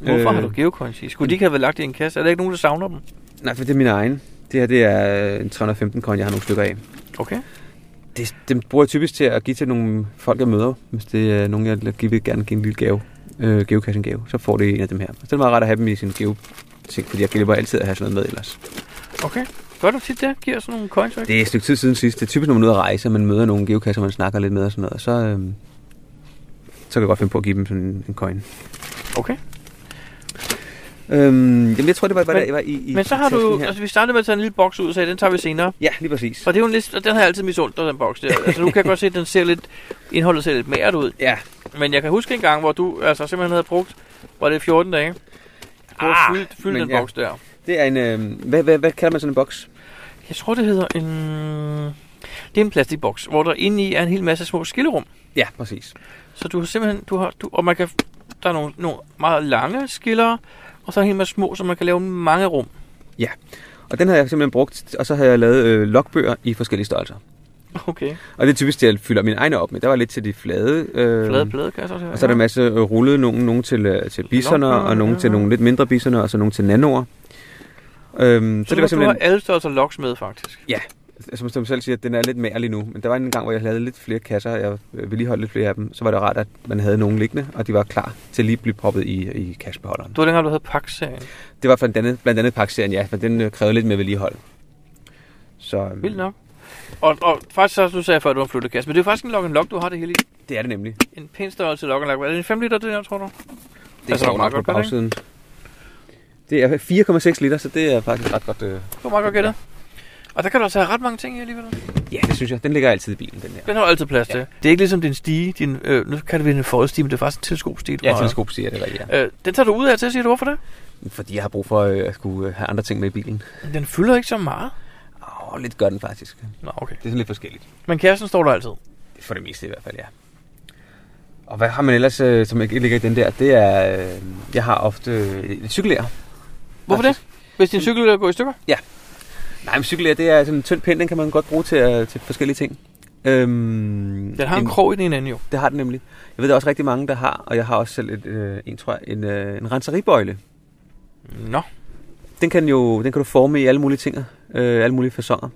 [SPEAKER 2] Hvorfor
[SPEAKER 1] Øh,
[SPEAKER 2] har du geocoins i? Skulle de ikke have været lagt i en kasse? Er der ikke nogen, der savner dem?
[SPEAKER 1] Nej, for det er min egen. Det her det er en 315 coin, jeg har nogle stykker af.
[SPEAKER 2] Okay.
[SPEAKER 1] Det, dem bruger jeg typisk til at give til nogle folk, jeg møder, hvis det er nogen, jeg vil- vil gerne give en lille gave. Øh, geocaching gave, så får det en af dem her. Så det er meget rart at have dem i sin geo ting, fordi jeg glipper altid at have sådan noget med ellers.
[SPEAKER 2] Okay. Gør du tit det? Giver sådan nogle coins væk?
[SPEAKER 1] Det er et stykke tid siden sidst. Det er typisk, når man er ude at rejse, og man møder nogle geokasser, man snakker lidt med og sådan noget. Så, øhm, så kan jeg godt finde på at give dem sådan en, en coin.
[SPEAKER 2] Okay.
[SPEAKER 1] Øhm, jamen, jeg tror, det var, var,
[SPEAKER 2] Men-
[SPEAKER 1] der, jeg var i, i
[SPEAKER 2] Men så har
[SPEAKER 1] i tasken
[SPEAKER 2] du...
[SPEAKER 1] Her.
[SPEAKER 2] Altså, vi startede med at tage en lille boks ud, og sagde, den tager vi senere.
[SPEAKER 1] Ja, lige præcis.
[SPEAKER 2] Og det er jo en liste, og den har jeg altid misundt dig, den boks der. Altså, nu kan jeg godt se, at den ser lidt... Indholdet ser lidt mært ud.
[SPEAKER 1] Ja,
[SPEAKER 2] Men jeg kan huske en gang, hvor du altså, simpelthen havde brugt... Var det 14 dage? Du ah,
[SPEAKER 1] Ah,
[SPEAKER 2] fyldt, fyldt
[SPEAKER 1] men
[SPEAKER 2] den
[SPEAKER 1] ja.
[SPEAKER 2] boks der.
[SPEAKER 1] det er en... Øh, hvad, hvad, hvad kalder man sådan en boks?
[SPEAKER 2] Jeg tror, det hedder en... Det er en plastikboks, hvor der inde i er en hel masse små skillerum.
[SPEAKER 1] Ja, præcis.
[SPEAKER 2] Så du har simpelthen, du har, du, og man kan, der er nogle, nogle meget lange skiller, og så er en hel masse små, så man kan lave mange rum.
[SPEAKER 1] Og den havde jeg simpelthen brugt, og så havde jeg lavet øh, logbøger i forskellige størrelser.
[SPEAKER 2] Okay.
[SPEAKER 1] Og det er typisk det, jeg fylder mine egne op med. Der var lidt til de flade... Øh,
[SPEAKER 2] Flade blade, kan jeg Øhm, så høre.
[SPEAKER 1] Og så er der en masse øh, rullede, nogle, nogle til, øh, til bisoner, og nogle til nogle lidt mindre bisoner, og så nogle til nanoer. Øhm,
[SPEAKER 2] Så, så det var simpelthen... du har alle størrelser loks med, faktisk.
[SPEAKER 1] Altså, som du selv siger, den er lidt mærlig nu, men der var en gang, hvor jeg havde lidt flere kasser, og jeg øh, vedligeholdt lidt flere af dem, så var det rart, at man havde nogen liggende, og de var klar til lige at blive proppet i, i kassebeholderen.
[SPEAKER 2] Du var dengang, du havde pakserien.
[SPEAKER 1] Det var blandt andet, blandt andet pakserien, ja, men den øh, krævede lidt mere vedligehold. Så øhm,
[SPEAKER 2] Vildt nok. Og, og faktisk så, du sagde jeg før, at du var en flyttekasse, men det er faktisk en lock and lock, du har det hele i.
[SPEAKER 1] det er det nemlig.
[SPEAKER 2] En pæn størrelse lock and lock. Er det en 5 liter, det der, tror du?
[SPEAKER 1] Det er
[SPEAKER 2] Altså,
[SPEAKER 1] så
[SPEAKER 2] hvor meget
[SPEAKER 1] nok på
[SPEAKER 2] godt gør det,
[SPEAKER 1] bagsiden. Det er 4,6 liter, så det er faktisk ret godt. Øh.
[SPEAKER 2] Det var meget godt gættet. Og der kan du altså have ret mange ting i alligevel.
[SPEAKER 1] Ja, det synes jeg. Den ligger altid i bilen, den her.
[SPEAKER 2] Den har du altid plads til. Ja. Det er ikke ligesom din stige, din, øh, nu kan det være en fodstige, men det er faktisk en teleskopstige, du
[SPEAKER 1] Ja,
[SPEAKER 2] har.
[SPEAKER 1] teleskop siger det rigtigt, ja.
[SPEAKER 2] Øh, den tager du ud af til, siger du, hvorfor det?
[SPEAKER 1] Fordi jeg har brug for øh, at skulle øh, have andre ting med i bilen.
[SPEAKER 2] Den fylder ikke så meget.
[SPEAKER 1] Åh, oh, lidt gør den faktisk. Det
[SPEAKER 2] Nå, okay.
[SPEAKER 1] er sådan lidt forskelligt.
[SPEAKER 2] Men kassen står der altid.
[SPEAKER 1] For det meste i hvert fald, ja. Og hvad har man ellers, øh, som ikke ligger i den der? Det er, øh, jeg har ofte øh, et cykelær.
[SPEAKER 2] Hvorfor det? Hvis din cykel øh, går i stykker?
[SPEAKER 1] Nej, men cykelær, det er sådan en tynd pind, den kan man godt bruge til, øh, til forskellige ting. Øhm,
[SPEAKER 2] Den har en krog i den ene ende jo.
[SPEAKER 1] Det har den nemlig. Jeg ved, der er også rigtig mange, der har, og jeg har også selv et, øh, en, tror jeg, en, øh, en renseribøjle.
[SPEAKER 2] Nå.
[SPEAKER 1] Den kan, jo, den kan du forme i alle mulige ting, øh, alle mulige fasonger.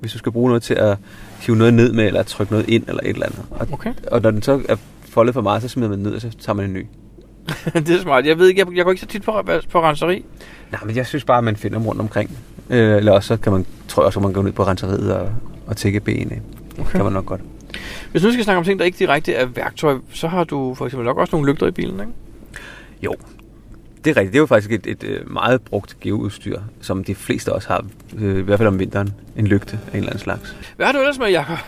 [SPEAKER 1] Hvis du skal bruge noget til at hive noget ned med, eller trykke noget ind, eller et eller andet. Og
[SPEAKER 2] Okay.
[SPEAKER 1] Og når den så er foldet for meget, så smider man den ned, og så tager man en ny.
[SPEAKER 2] det er smart. Jeg ved ikke, jeg, jeg går ikke så tit på, på renseri.
[SPEAKER 1] Nej, men jeg synes bare, at man finder dem rundt omkring. Øh, eller også så kan man, tror jeg også, at man går ned på renseriet og, og tække benene. Okay. Kan man nok godt.
[SPEAKER 2] Hvis nu skal snakke om ting, der ikke direkte er værktøj, så har du for eksempel nok også nogle lygter i bilen, ikke?
[SPEAKER 1] Det er rigtigt. Det er jo faktisk et, et øh, meget brugt geoudstyr, som de fleste også har, øh, i hvert fald om vinteren. En lygte af en eller anden slags.
[SPEAKER 2] Hvad har du ellers med, Jacob?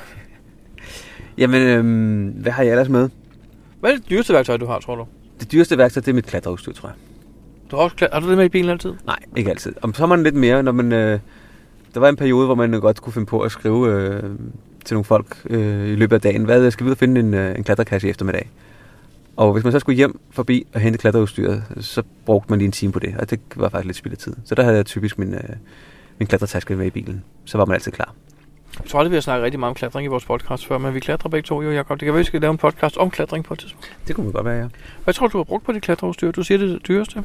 [SPEAKER 1] Jamen, øh, hvad har jeg ellers med?
[SPEAKER 2] Hvad er det dyreste værktøj, du har, tror du?
[SPEAKER 1] Det dyreste værktøj, det er mit klatreudstyr, tror jeg.
[SPEAKER 2] Du har, også, kla- har du det med i bilen altid?
[SPEAKER 1] Nej, ikke altid. Om sommeren lidt mere, når man... Øh, der var en periode, hvor man godt kunne finde på at skrive øh, til nogle folk øh, i løbet af dagen, hvad skal vi ud og finde en, øh, en klatrekasse i eftermiddag? Og hvis man så skulle hjem forbi og hente klatreudstyret, så brugte man lige en time på det, og det var faktisk lidt spild af tid. Så der havde jeg typisk min, øh, min klatretaske med i bilen. Så var man altid klar.
[SPEAKER 2] Jeg tror aldrig, vi har snakket rigtig meget om klatring i vores podcast før, men vi klatrer begge to, jo Jacob. Det kan være, vi skal lave en podcast om klatring på et tidspunkt.
[SPEAKER 1] Det kunne man godt være, ja.
[SPEAKER 2] Hvad tror du, du har brugt på dit klatreudstyr? Du siger, det er det dyreste.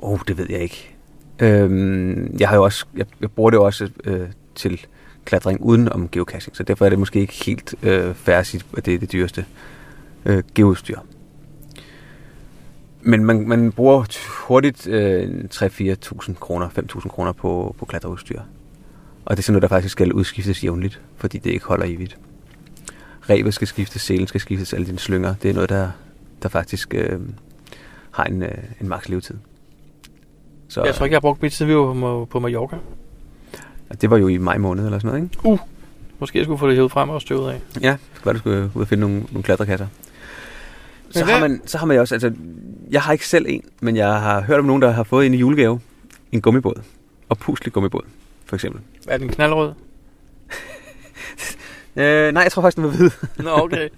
[SPEAKER 1] Åh, oh, det ved jeg ikke. Øhm, jeg, har jo også, jeg, jeg bruger det jo også øh, til klatring uden om geocaching, så derfor er det måske ikke helt øh, fair at sige, at det er det dyreste øh, geoudstyr. Men man, man bruger t- hurtigt øh, 3-4.000 kroner, 5.000 kroner på, på klatreudstyr. Og det er sådan noget, der faktisk skal udskiftes jævnligt, fordi det ikke holder evigt. Rebet skal skiftes, selen skal skiftes, alle dine slynger. Det er noget, der, der faktisk øh, har en, øh, en maks levetid. Så
[SPEAKER 2] Jeg tror ikke, jeg har brugt mit siden vi var på, på Mallorca.
[SPEAKER 1] øh, det var jo i maj måned eller sådan noget, ikke?
[SPEAKER 2] Måske jeg skulle få det hævet frem og støvet af.
[SPEAKER 1] Ja, det var, du skulle ud og finde nogle, nogle klatrekasser. Så
[SPEAKER 2] hvad-
[SPEAKER 1] har, man, så har man jo også, altså, jeg har ikke selv en, men jeg har hørt om nogen, der har fået en i julegave. En gummibåd. Og puslig gummibåd, for eksempel.
[SPEAKER 2] Er den knaldrød?
[SPEAKER 1] Øh, nej, jeg tror faktisk, den var hvid.
[SPEAKER 2] Nå, okay.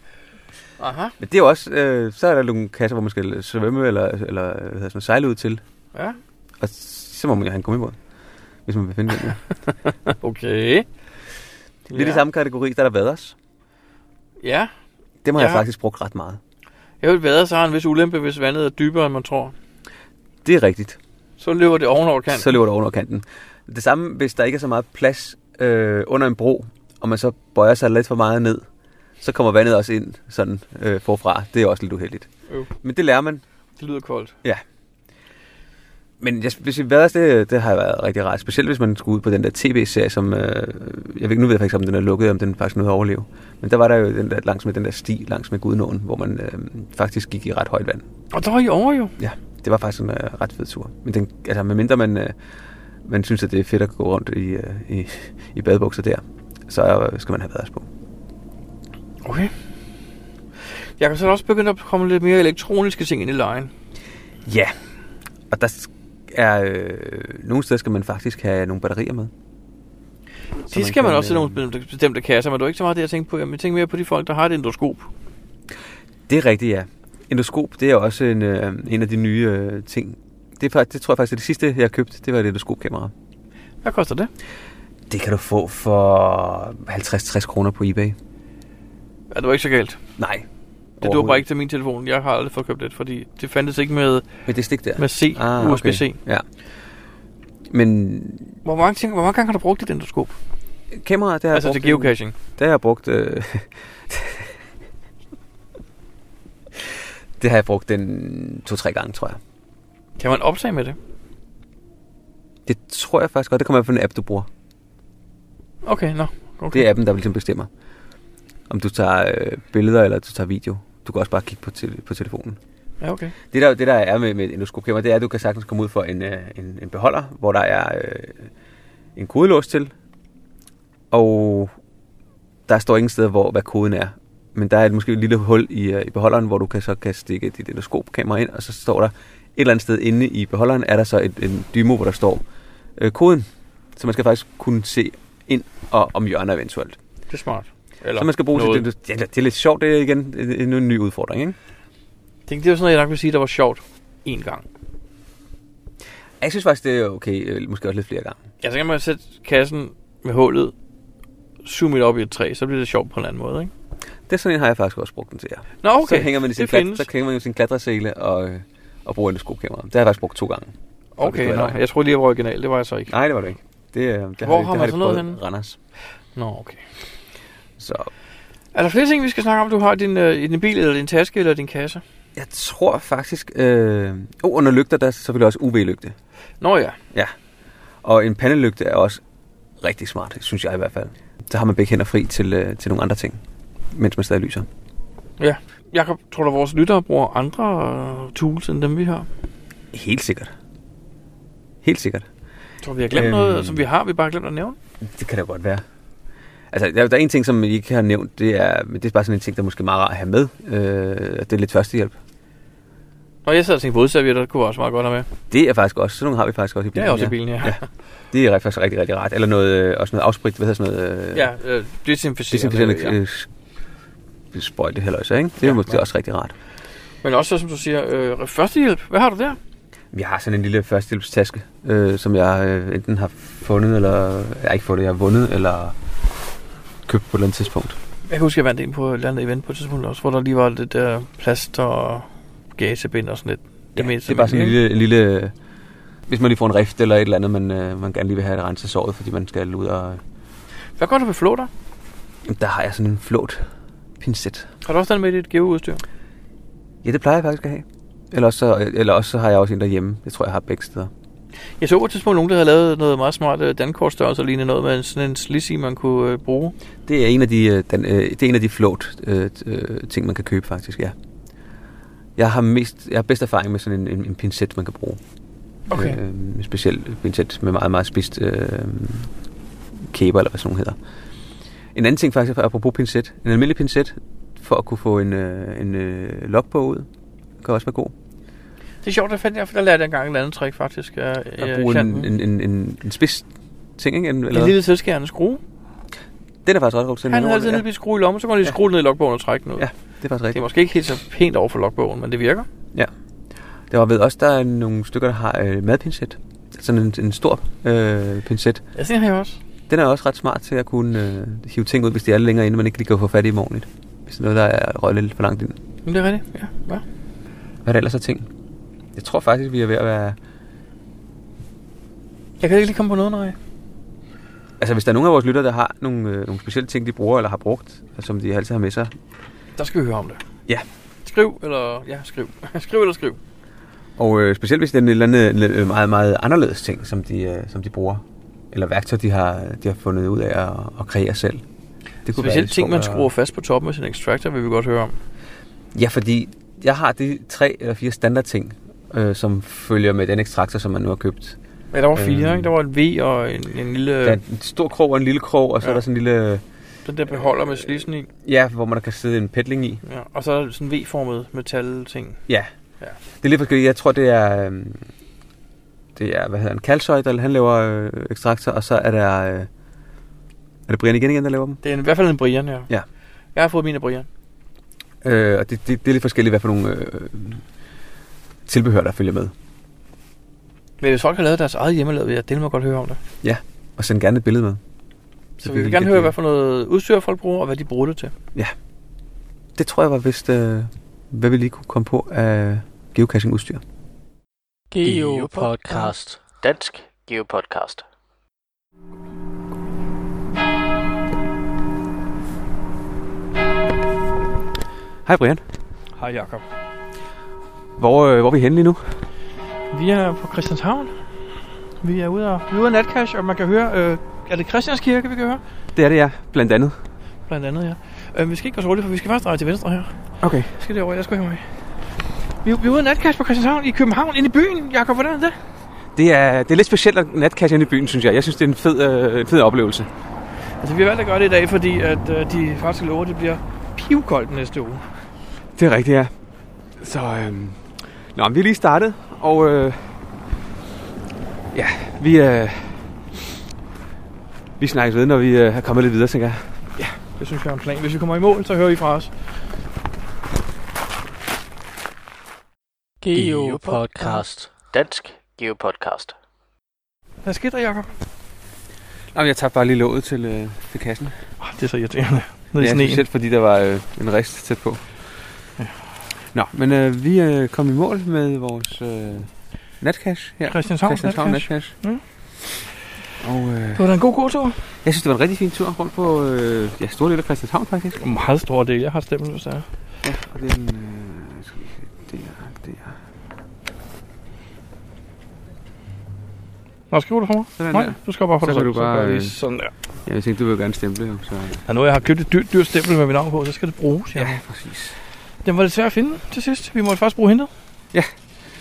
[SPEAKER 2] Aha,
[SPEAKER 1] Men det er jo også, øh, så er der nogle kasser, hvor man skal svømme eller, eller hvad hedder sådan, noget, sejle ud til.
[SPEAKER 2] ja.
[SPEAKER 1] Og så må man jo have en gummibåd, hvis man vil finde den. Ja.
[SPEAKER 2] Okay.
[SPEAKER 1] Lidt i samme kategori, der er der vaders.
[SPEAKER 2] Ja.
[SPEAKER 1] Dem har ja. jeg
[SPEAKER 2] Ja.
[SPEAKER 1] faktisk brugt ret meget.
[SPEAKER 2] Jeg vil bedre, så har en vis ulempe, hvis vandet er dybere, end man tror.
[SPEAKER 1] Det er rigtigt.
[SPEAKER 2] Så løber det ovenover kanten.
[SPEAKER 1] Så løber det over kanten. Det samme, hvis der ikke er så meget plads øh, under en bro, og man så bøjer sig lidt for meget ned, så kommer vandet også ind sådan øh, forfra. Det er også lidt uheldigt.
[SPEAKER 2] Øv.
[SPEAKER 1] Men det lærer man.
[SPEAKER 2] Det lyder koldt.
[SPEAKER 1] Men jeg, hvis jeg været, det, det har været rigtig rart. Specielt hvis man skulle ud på den der tv-serie, som... Øh, jeg ved, nu ved jeg faktisk, om den er lukket, om den faktisk nåede at overleve. Men der var der jo den der, langs med den der sti, langs med Gudnåen, hvor man øh, faktisk gik i ret højt vand.
[SPEAKER 2] Og der var I over jo.
[SPEAKER 1] Det var faktisk en øh, ret fed tur. Men den, altså, medmindre man, øh, man synes, at det er fedt at gå rundt i, øh, i, i badebukser der, så øh, skal man have vaders på.
[SPEAKER 2] Okay. Jeg kan så er der også begynde at komme lidt mere elektroniske ting ind i lejen.
[SPEAKER 1] Ja, og der s- er... Øh, nogle steder skal man faktisk have nogle batterier med.
[SPEAKER 2] det skal man, også i nogle bestemte- bestemte kasser, men det var ikke så meget det, jeg tænkte på. Jamen, Jeg tænkte mere på de folk, der har et endoskop.
[SPEAKER 1] Det er rigtigt, ja. Endoskop, det er også en, øh, en af de nye øh, ting. Det, er, fakt- det tror jeg faktisk er det sidste, jeg købte, det var et endoskopkamera.
[SPEAKER 2] Hvad koster det?
[SPEAKER 1] Det kan du få for 50-60 kroner på eBay.
[SPEAKER 2] Ja, det var ikke så galt.
[SPEAKER 1] Nej.
[SPEAKER 2] Det duer
[SPEAKER 1] overhovedet
[SPEAKER 2] bare ikke til min telefon. Jeg har aldrig fået købt det, fordi det fandtes ikke med,
[SPEAKER 1] Med det stik der.
[SPEAKER 2] med C, ah,
[SPEAKER 1] Ah,
[SPEAKER 2] USB-C. Okay.
[SPEAKER 1] Ja. Men
[SPEAKER 2] Hvor, mange ting, hvor mange gange har du brugt dit endoskop?
[SPEAKER 1] kamera, det har
[SPEAKER 2] altså
[SPEAKER 1] jeg
[SPEAKER 2] til
[SPEAKER 1] brugt,
[SPEAKER 2] geocaching.
[SPEAKER 1] Det har jeg brugt... Øh, det har jeg brugt den to-tre gange, tror jeg.
[SPEAKER 2] Kan man optage med det?
[SPEAKER 1] Det tror jeg faktisk godt. Det kommer af på en app, du bruger.
[SPEAKER 2] Okay, nå. Okay.
[SPEAKER 1] Det er appen, der ligesom bestemmer, om du tager øh, billeder eller du tager video. Du kan også bare kigge på, te- på telefonen.
[SPEAKER 2] Ja, okay.
[SPEAKER 1] Det der, det der er med, med et endoskopkamera, det er, at du kan sagtens komme ud for en, øh, en, en beholder, hvor der er øh, en kodelås til, og der står ingen steder, hvor, hvad koden er. Men der er et, måske et lille hul i, øh, i beholderen, hvor du kan så kan stikke dit endoskopkamera ind, og så står der et eller andet sted inde i beholderen, er der så et, en dymo, hvor der står øh, koden. Så man skal faktisk kunne se ind og om hjørner eventuelt.
[SPEAKER 2] Det er smart.
[SPEAKER 1] Eller så man skal bruge
[SPEAKER 2] noget.
[SPEAKER 1] noget. det. Ja, det er lidt sjovt, det er igen en, en ny udfordring, ikke?
[SPEAKER 2] Det, det er jo sådan noget, jeg nok vil sige, der var sjovt en gang.
[SPEAKER 1] Jeg synes faktisk, det er okay, øh, måske også lidt flere gange.
[SPEAKER 2] Ja, så kan man sætte kassen med hullet, zoome det op i et træ, så bliver det sjovt på en anden måde, ikke?
[SPEAKER 1] Det er sådan en, har jeg faktisk også brugt den til. Ja.
[SPEAKER 2] Nå, okay.
[SPEAKER 1] Så hænger man i sin,
[SPEAKER 2] det
[SPEAKER 1] klat,
[SPEAKER 2] findes.
[SPEAKER 1] så hænger man i sin klatresele og, øh, og bruger endoskopkamera. Det har jeg faktisk brugt to gange.
[SPEAKER 2] Okay,
[SPEAKER 1] det
[SPEAKER 2] nå,
[SPEAKER 1] var dig.
[SPEAKER 2] jeg tror lige, jeg var original. Det var jeg så ikke.
[SPEAKER 1] Nej, det var det ikke. Det, øh, det har,
[SPEAKER 2] Hvor
[SPEAKER 1] det
[SPEAKER 2] har man
[SPEAKER 1] det
[SPEAKER 2] sådan noget
[SPEAKER 1] prøvet i
[SPEAKER 2] henne?
[SPEAKER 1] Randers.
[SPEAKER 2] Nå, okay.
[SPEAKER 1] Så
[SPEAKER 2] Er der flere ting, vi skal snakke om, du har i din, øh, i din bil, eller din taske, eller din kasse?
[SPEAKER 1] jeg tror faktisk... Øh, oh, under lygter, der er selvfølgelig også UV-lygte.
[SPEAKER 2] Nå ja.
[SPEAKER 1] Og en pandelygte er også rigtig smart, synes jeg i hvert fald. Så har man begge hænder fri til, øh, til nogle andre ting, mens man stadig lyser.
[SPEAKER 2] Jakob, tror du, vores lyttere bruger andre øh, tools, end dem vi har?
[SPEAKER 1] Helt sikkert. Helt sikkert.
[SPEAKER 2] Tror du, vi har glemt
[SPEAKER 1] Øhm.
[SPEAKER 2] noget, som vi har, vi bare har glemt at nævne?
[SPEAKER 1] Det kan da godt være. Altså, der, der er en ting, som I ikke har nævnt, det er, men det er bare sådan en ting, der måske er meget rart at have med. Øh, at det er lidt førstehjælp.
[SPEAKER 2] Nå, jeg sad og tænkte på udservietter, det kunne jeg også meget godt have med.
[SPEAKER 1] Det er faktisk også, sådan nogle har vi faktisk også i
[SPEAKER 2] Det
[SPEAKER 1] bilen.
[SPEAKER 2] er også i
[SPEAKER 1] ja.
[SPEAKER 2] bilen, ja. Ja,
[SPEAKER 1] Ja. Det er faktisk rigtig, rigtig rart. Eller noget, øh, også noget afsprit, hvad hedder sådan noget... Øh,
[SPEAKER 2] ja øh, desinficerende. ja.
[SPEAKER 1] Desinficerende ja. sprøjte heller øh, også, ikke? Det er
[SPEAKER 2] Ja,
[SPEAKER 1] ja, måske
[SPEAKER 2] ja.
[SPEAKER 1] også rigtig rart.
[SPEAKER 2] Men også, som du siger, øh, førstehjælp. Hvad har du der?
[SPEAKER 1] Jeg har sådan en lille førstehjælpstaske, øh, som jeg øh, enten har fundet, eller jeg har ikke fundet, jeg har vundet, eller købt på et eller andet tidspunkt.
[SPEAKER 2] Jeg kan huske, jeg vandt en på et eller andet event på et tidspunkt også, hvor der lige var lidt der plast og gasebind og sådan lidt.
[SPEAKER 1] Det, ja,
[SPEAKER 2] meste
[SPEAKER 1] det er bare
[SPEAKER 2] af
[SPEAKER 1] sådan en
[SPEAKER 2] mængden,
[SPEAKER 1] lille, en lille... Hvis man lige får en rift eller et eller andet, man, øh, man gerne lige vil have renset såret, fordi man skal ud og...
[SPEAKER 2] ikke? Hvad gør du ved flåter?
[SPEAKER 1] Jamen, Der har jeg sådan en flot pincet.
[SPEAKER 2] Har du også den med i dit geoudstyr?
[SPEAKER 1] Ja, det plejer jeg faktisk at have. Eller også, så, eller også så har jeg også en derhjemme. Jeg tror, jeg har begge steder.
[SPEAKER 2] Jeg så på et tidspunkt nogen, der havde lavet noget meget smart øh, dankortstørrelse, lignende noget med en- sådan en slissi, man kunne øh, bruge.
[SPEAKER 1] Det er en af de, øh, den, øh, det er en af de float øh, t- øh, ting, man kan købe faktisk, ja. Jeg har, mest, jeg har bedst erfaring med sådan en, en, en pincet, man kan bruge.
[SPEAKER 2] Okay.
[SPEAKER 1] Øh, en speciel pincet med meget, meget spidst øh, kæber, eller hvad sådan nogle hedder. En anden ting faktisk, apropos pincet. En almindelig pincet, for at kunne få en, øh, en øh, logbog ud, kan også være god.
[SPEAKER 2] Det er sjovt, der fandt jeg, for der lærte jeg engang et andet trick faktisk. Øh,
[SPEAKER 1] At
[SPEAKER 2] øh,
[SPEAKER 1] bruge
[SPEAKER 2] en,
[SPEAKER 1] en, en, en, en, en spids ting, ikke? En, eller
[SPEAKER 2] en lille selvskærende skrue.
[SPEAKER 1] Den er faktisk ret god til.
[SPEAKER 2] Han
[SPEAKER 1] den
[SPEAKER 2] havde altid
[SPEAKER 1] ordentlig,
[SPEAKER 2] en lille bitte skrue i lommen, så kunne han lige skrue den ned i logbogen og trække den ud.
[SPEAKER 1] Ja, det er faktisk rigtigt.
[SPEAKER 2] Det er måske ikke helt så pænt over for logbogen, men det virker.
[SPEAKER 1] Der var ved også, der er nogle stykker, der har øh, madpincet. Sådan en, en stor øh, pincet.
[SPEAKER 2] Ja, det har jeg også.
[SPEAKER 1] Den er også ret smart til at kunne øh, hive ting ud, hvis det er lidt længere inde, man ikke lige kan få fat i dem ordentligt. Hvis det er noget, der er røget lidt for langt ind.
[SPEAKER 2] Men det er rigtigt, ja. Hva?
[SPEAKER 1] Hvad er der ellers af ting? Jeg tror faktisk, vi er ved at være...
[SPEAKER 2] Jeg kan ikke lige komme på noget, nej.
[SPEAKER 1] Altså, hvis der er nogen af vores lytter, der har nogle, øh, nogle specielle ting, de bruger eller har brugt, og som de altid har med sig.
[SPEAKER 2] Der skal vi høre om det.
[SPEAKER 1] Ja.
[SPEAKER 2] Skriv, eller... Ja, skriv. skriv eller skriv.
[SPEAKER 1] Og øh, specielt hvis det er en eller anden øh, meget, meget anderledes ting, som de, øh, som de bruger. Eller værktøj, de har, de har fundet ud af at, at kreere selv. Det være
[SPEAKER 2] Specielt
[SPEAKER 1] lidt
[SPEAKER 2] ting,
[SPEAKER 1] sjovt
[SPEAKER 2] man
[SPEAKER 1] at-
[SPEAKER 2] skruer fast på toppen af sin extractor, vil vi godt høre om.
[SPEAKER 1] Ja, fordi jeg har de tre eller fire standardting, øh, som følger med den ekstraktor, som man nu har købt.
[SPEAKER 2] Ja, der var fire,
[SPEAKER 1] Øhm.
[SPEAKER 2] ikke? Der var en V og en, en lille...
[SPEAKER 1] Øh. Der er en stor krog og en lille krog, og så ja.
[SPEAKER 2] Ja.
[SPEAKER 1] er der sådan en lille...
[SPEAKER 2] Den der beholder med slissen i.
[SPEAKER 1] Ja, hvor man kan sidde en pedling i.
[SPEAKER 2] Ja. Og så er der sådan en V-formet metal-ting.
[SPEAKER 1] Ja.
[SPEAKER 2] Ja.
[SPEAKER 1] Det er lidt forskelligt. Jeg tror, det er... øhm, Det er, hvad hedder han? Kalsøj, der han laver øh, ekstraktor, og så er der... Øh, er det Brian igen igen, der laver dem?
[SPEAKER 2] Det er en, i hvert fald en Brian, ja.
[SPEAKER 1] Ja.
[SPEAKER 2] Jeg har fået min af Brian.
[SPEAKER 1] Øh, og det, det, det er lidt forskelligt, hvad for nogle øh, tilbehør, der følger med.
[SPEAKER 2] Men hvis folk har lavet deres eget hjemmelavede, vil jeg dele mig godt høre om det.
[SPEAKER 1] Og send gerne et billede med.
[SPEAKER 2] Så
[SPEAKER 1] vi
[SPEAKER 2] vi
[SPEAKER 1] kan
[SPEAKER 2] vil gerne
[SPEAKER 1] lige-
[SPEAKER 2] høre, hvad for noget udstyr folk bruger, og hvad de bruger det til.
[SPEAKER 1] Det tror jeg var vist, øh, hvad vi lige kunne komme på af geocaching-udstyr.
[SPEAKER 3] Geopodcast. Dansk Geopodcast.
[SPEAKER 1] Hej Brian.
[SPEAKER 2] Hej Jakob.
[SPEAKER 1] Hvor, øh, hvor er vi henne lige nu?
[SPEAKER 2] Vi er på Christianshavn. Vi er ude og vi er ude af natcash, og man kan høre... Øh, er det Christians Kirke, vi kan høre?
[SPEAKER 1] Det er det, ja. Blandt andet.
[SPEAKER 2] Blandt andet, ja. Øh, vi skal ikke gå så roligt, for vi skal først dreje til venstre her.
[SPEAKER 1] Okay.
[SPEAKER 2] Jeg skal derover, jeg skal herover. Vi, vi er ude af natcash på Christianshavn i København, inde i byen. Jakob, hvordan er det?
[SPEAKER 1] Det er, det er lidt specielt at natkasse inde i byen, synes jeg. Jeg synes, det er en fed, øh, en fed oplevelse.
[SPEAKER 2] Altså, vi har valgt at gøre det i dag, fordi at, øh, de faktisk lover, at det bliver pivkoldt næste uge.
[SPEAKER 1] Det er rigtigt, ja. Så, øh... Nå, men vi er lige startet, og øh... ja, vi er... Øh... Vi snakkes ved, når vi øh, er kommet lidt videre, tænker jeg.
[SPEAKER 2] Det synes jeg er en plan. Hvis vi kommer i mål, så hører I fra os.
[SPEAKER 3] Geopodcast. Dansk Geopodcast.
[SPEAKER 2] Hvad sker der, Jacob?
[SPEAKER 1] Nå, men jeg tabte bare lige låget til, øh, til kassen.
[SPEAKER 2] Oh, det er så irriterende. Nede
[SPEAKER 1] ja, specielt fordi der var øh, en rest tæt på.
[SPEAKER 2] Ja.
[SPEAKER 1] Nå, men øh, vi øh, kom i mål med vores øh, natcash her.
[SPEAKER 2] Christianshavn,
[SPEAKER 1] Christianshavn
[SPEAKER 2] natcash.
[SPEAKER 1] Natcash.
[SPEAKER 2] Mm.
[SPEAKER 1] Og øh,
[SPEAKER 2] Det var da en god gåtur.
[SPEAKER 1] jeg synes, det var en rigtig fin tur rundt på øh, ja, store dele af Christianshavn, faktisk.
[SPEAKER 2] En meget stor del. Jeg har stemt, hvis det er.
[SPEAKER 1] Ja, og det er en... Øh, skal vi se, der, der.
[SPEAKER 2] Nå, skriver du for mig?
[SPEAKER 1] Sådan
[SPEAKER 2] Nej,
[SPEAKER 1] der.
[SPEAKER 2] du skal bare for
[SPEAKER 1] Så
[SPEAKER 2] dig
[SPEAKER 1] kan
[SPEAKER 2] selv.
[SPEAKER 1] du bare,
[SPEAKER 2] gør jeg lige
[SPEAKER 1] øh,
[SPEAKER 2] sådan der.
[SPEAKER 1] Ja, jeg tænkte, du vil gerne stemple, jo, så...
[SPEAKER 2] Ja, nu jeg har købt et dyrt, dyrt stempel med mit navn på, så skal det bruges. Ja.
[SPEAKER 1] Ja, præcis.
[SPEAKER 2] Den var lidt svær at finde til sidst. Vi måtte faktisk bruge hintet.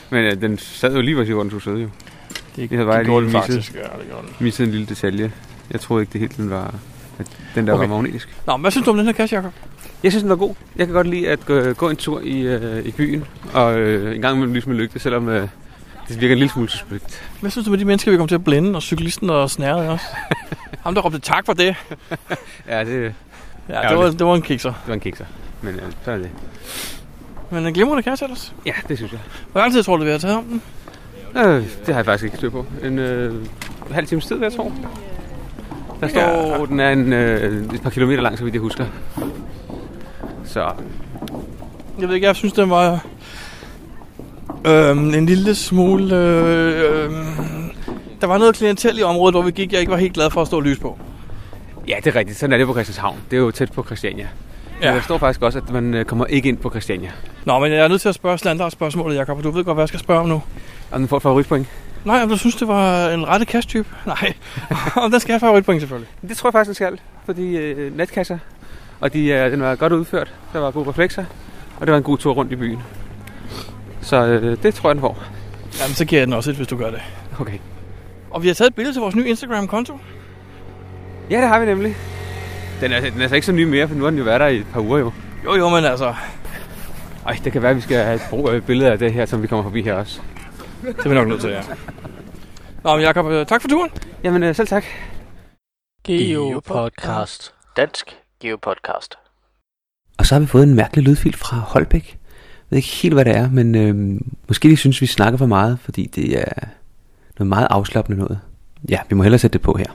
[SPEAKER 1] Men øh, den sad jo lige, hvor den skulle sidde, jo.
[SPEAKER 2] Det,
[SPEAKER 1] det var lige
[SPEAKER 2] gjorde den
[SPEAKER 1] misset.
[SPEAKER 2] faktisk. Ja, det gjorde den.
[SPEAKER 1] Missede en lille detalje. Jeg troede ikke, det helt den var... At den der
[SPEAKER 2] Okay.
[SPEAKER 1] var magnetisk.
[SPEAKER 2] Nå, men hvad synes du om den her kasse, Jacob?
[SPEAKER 1] Jeg synes, den var god. Jeg kan godt lide at gå, gå en tur i, øh, i byen, og øh, en gang imellem ligesom en lygte, selvom øh, det virker en lille smule suspekt.
[SPEAKER 2] Hvad synes du med de mennesker, vi kom til at blænde, og cyklisten og snærede også? Ham, der råbte tak for det.
[SPEAKER 1] Ja, det,
[SPEAKER 2] Ja, det var,
[SPEAKER 1] Ærgerligt.
[SPEAKER 2] det var en kikser.
[SPEAKER 1] det var en kikser. Men øh, så er det.
[SPEAKER 2] Men en glimrende kasse ellers.
[SPEAKER 1] Ja, det synes jeg.
[SPEAKER 2] Hvor lang tid tror du, vi har taget om den?
[SPEAKER 4] Øh, det har jeg faktisk ikke styr på. En øh, halv times tid, vil jeg tro. Der står, ja. den er en, øh, et par kilometer lang, så vidt jeg husker. Så
[SPEAKER 2] Jeg ved ikke, jeg synes, den var øhm, en lille smule... Øh, øhm, der var noget klientel i området, hvor vi gik, jeg ikke var helt glad for at stå og lyse på.
[SPEAKER 4] ja, det er rigtigt. Sådan er det på Christianshavn. Det er jo tæt på Christiania. Ja. Men der står faktisk også, at man øh, kommer ikke ind på Christiania.
[SPEAKER 2] Nå, men jeg er nødt til at spørge standardspørgsmålet, Jacob, og du ved godt, hvad jeg skal spørge om nu.
[SPEAKER 4] Og den får et favoritpoint.
[SPEAKER 2] Nej, om du synes, det var en rette kasttype? Nej, om der skal jeg have favoritpoint selvfølgelig.
[SPEAKER 4] Det tror jeg faktisk, den skal. Fordi øh, natkasser, og de, øh, den var godt udført. Der var gode reflekser, og det var en god tur rundt i byen. Så øh, det tror jeg, den får.
[SPEAKER 2] Jamen, så giver jeg den også et, hvis du gør det.
[SPEAKER 4] Okay.
[SPEAKER 2] Og vi har taget et billede til vores nye Instagram-konto.
[SPEAKER 4] Ja, det har vi nemlig. Den er, den er altså ikke så ny mere, for nu har den jo været der i et par uger jo.
[SPEAKER 2] Jo, jo, men altså,
[SPEAKER 4] Ej, det kan være, at vi skal have et brug af billeder af det her, som vi kommer forbi her også.
[SPEAKER 2] det er vi nok nødt til, ja. Nå, men Jacob, øh, tak for turen.
[SPEAKER 4] Jamen, øh, selv tak.
[SPEAKER 3] Geopodcast. Dansk Geopodcast.
[SPEAKER 1] Og så har vi fået en mærkelig lydfil fra Holbæk. Jeg ved ikke helt, hvad det er, men øh, måske de synes, vi snakker for meget, fordi det er noget meget afslappende noget. Ja, vi må hellere sætte det på her.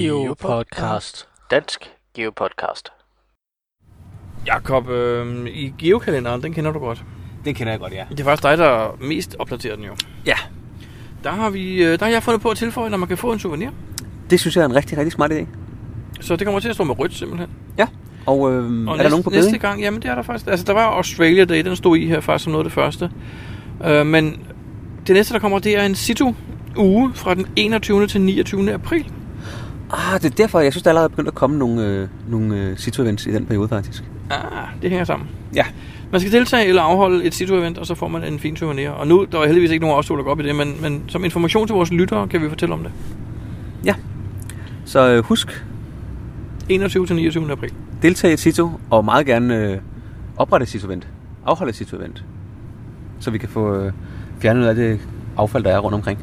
[SPEAKER 3] Geopodcast. Dansk Geopodcast.
[SPEAKER 2] Jakob, øh, i geokalenderen, den kender du godt.
[SPEAKER 1] Det kender jeg godt, ja.
[SPEAKER 2] Det er faktisk dig, der mest opdaterer den jo.
[SPEAKER 1] Ja.
[SPEAKER 2] Der har, vi, øh, der har jeg fundet på at tilføje, når man kan få en souvenir.
[SPEAKER 1] Det synes jeg er en rigtig, rigtig smart idé.
[SPEAKER 2] Så det kommer til at stå med rødt simpelthen. Og
[SPEAKER 1] Og, øh, og er
[SPEAKER 2] næste,
[SPEAKER 1] der nogen på bedring?
[SPEAKER 2] næste gang, jamen det er der faktisk. Altså der var Australia Day, den stod i her faktisk som noget af det første. Øh, men det næste, der kommer, det er en situ uge fra den 21. til 29. april.
[SPEAKER 1] Ah, det er derfor, jeg synes, der allerede er begyndt at komme nogle, øh, nogle øh, situ-events i den periode, faktisk.
[SPEAKER 2] Ah, det hænger sammen.
[SPEAKER 1] Ja.
[SPEAKER 2] Man skal deltage eller afholde et situ-event, og så får man en fin souvenir. Og nu, der er heldigvis ikke nogen af os, to, der går op i det, men, men som information til vores lyttere, kan vi fortælle om det.
[SPEAKER 1] Så øh, husk,
[SPEAKER 2] 21. til 29. april.
[SPEAKER 1] deltage i et situ, og meget gerne øh, oprette et situ-event. Afholde et situ-event. Så vi kan få øh, fjernet noget af det affald, der er rundt omkring.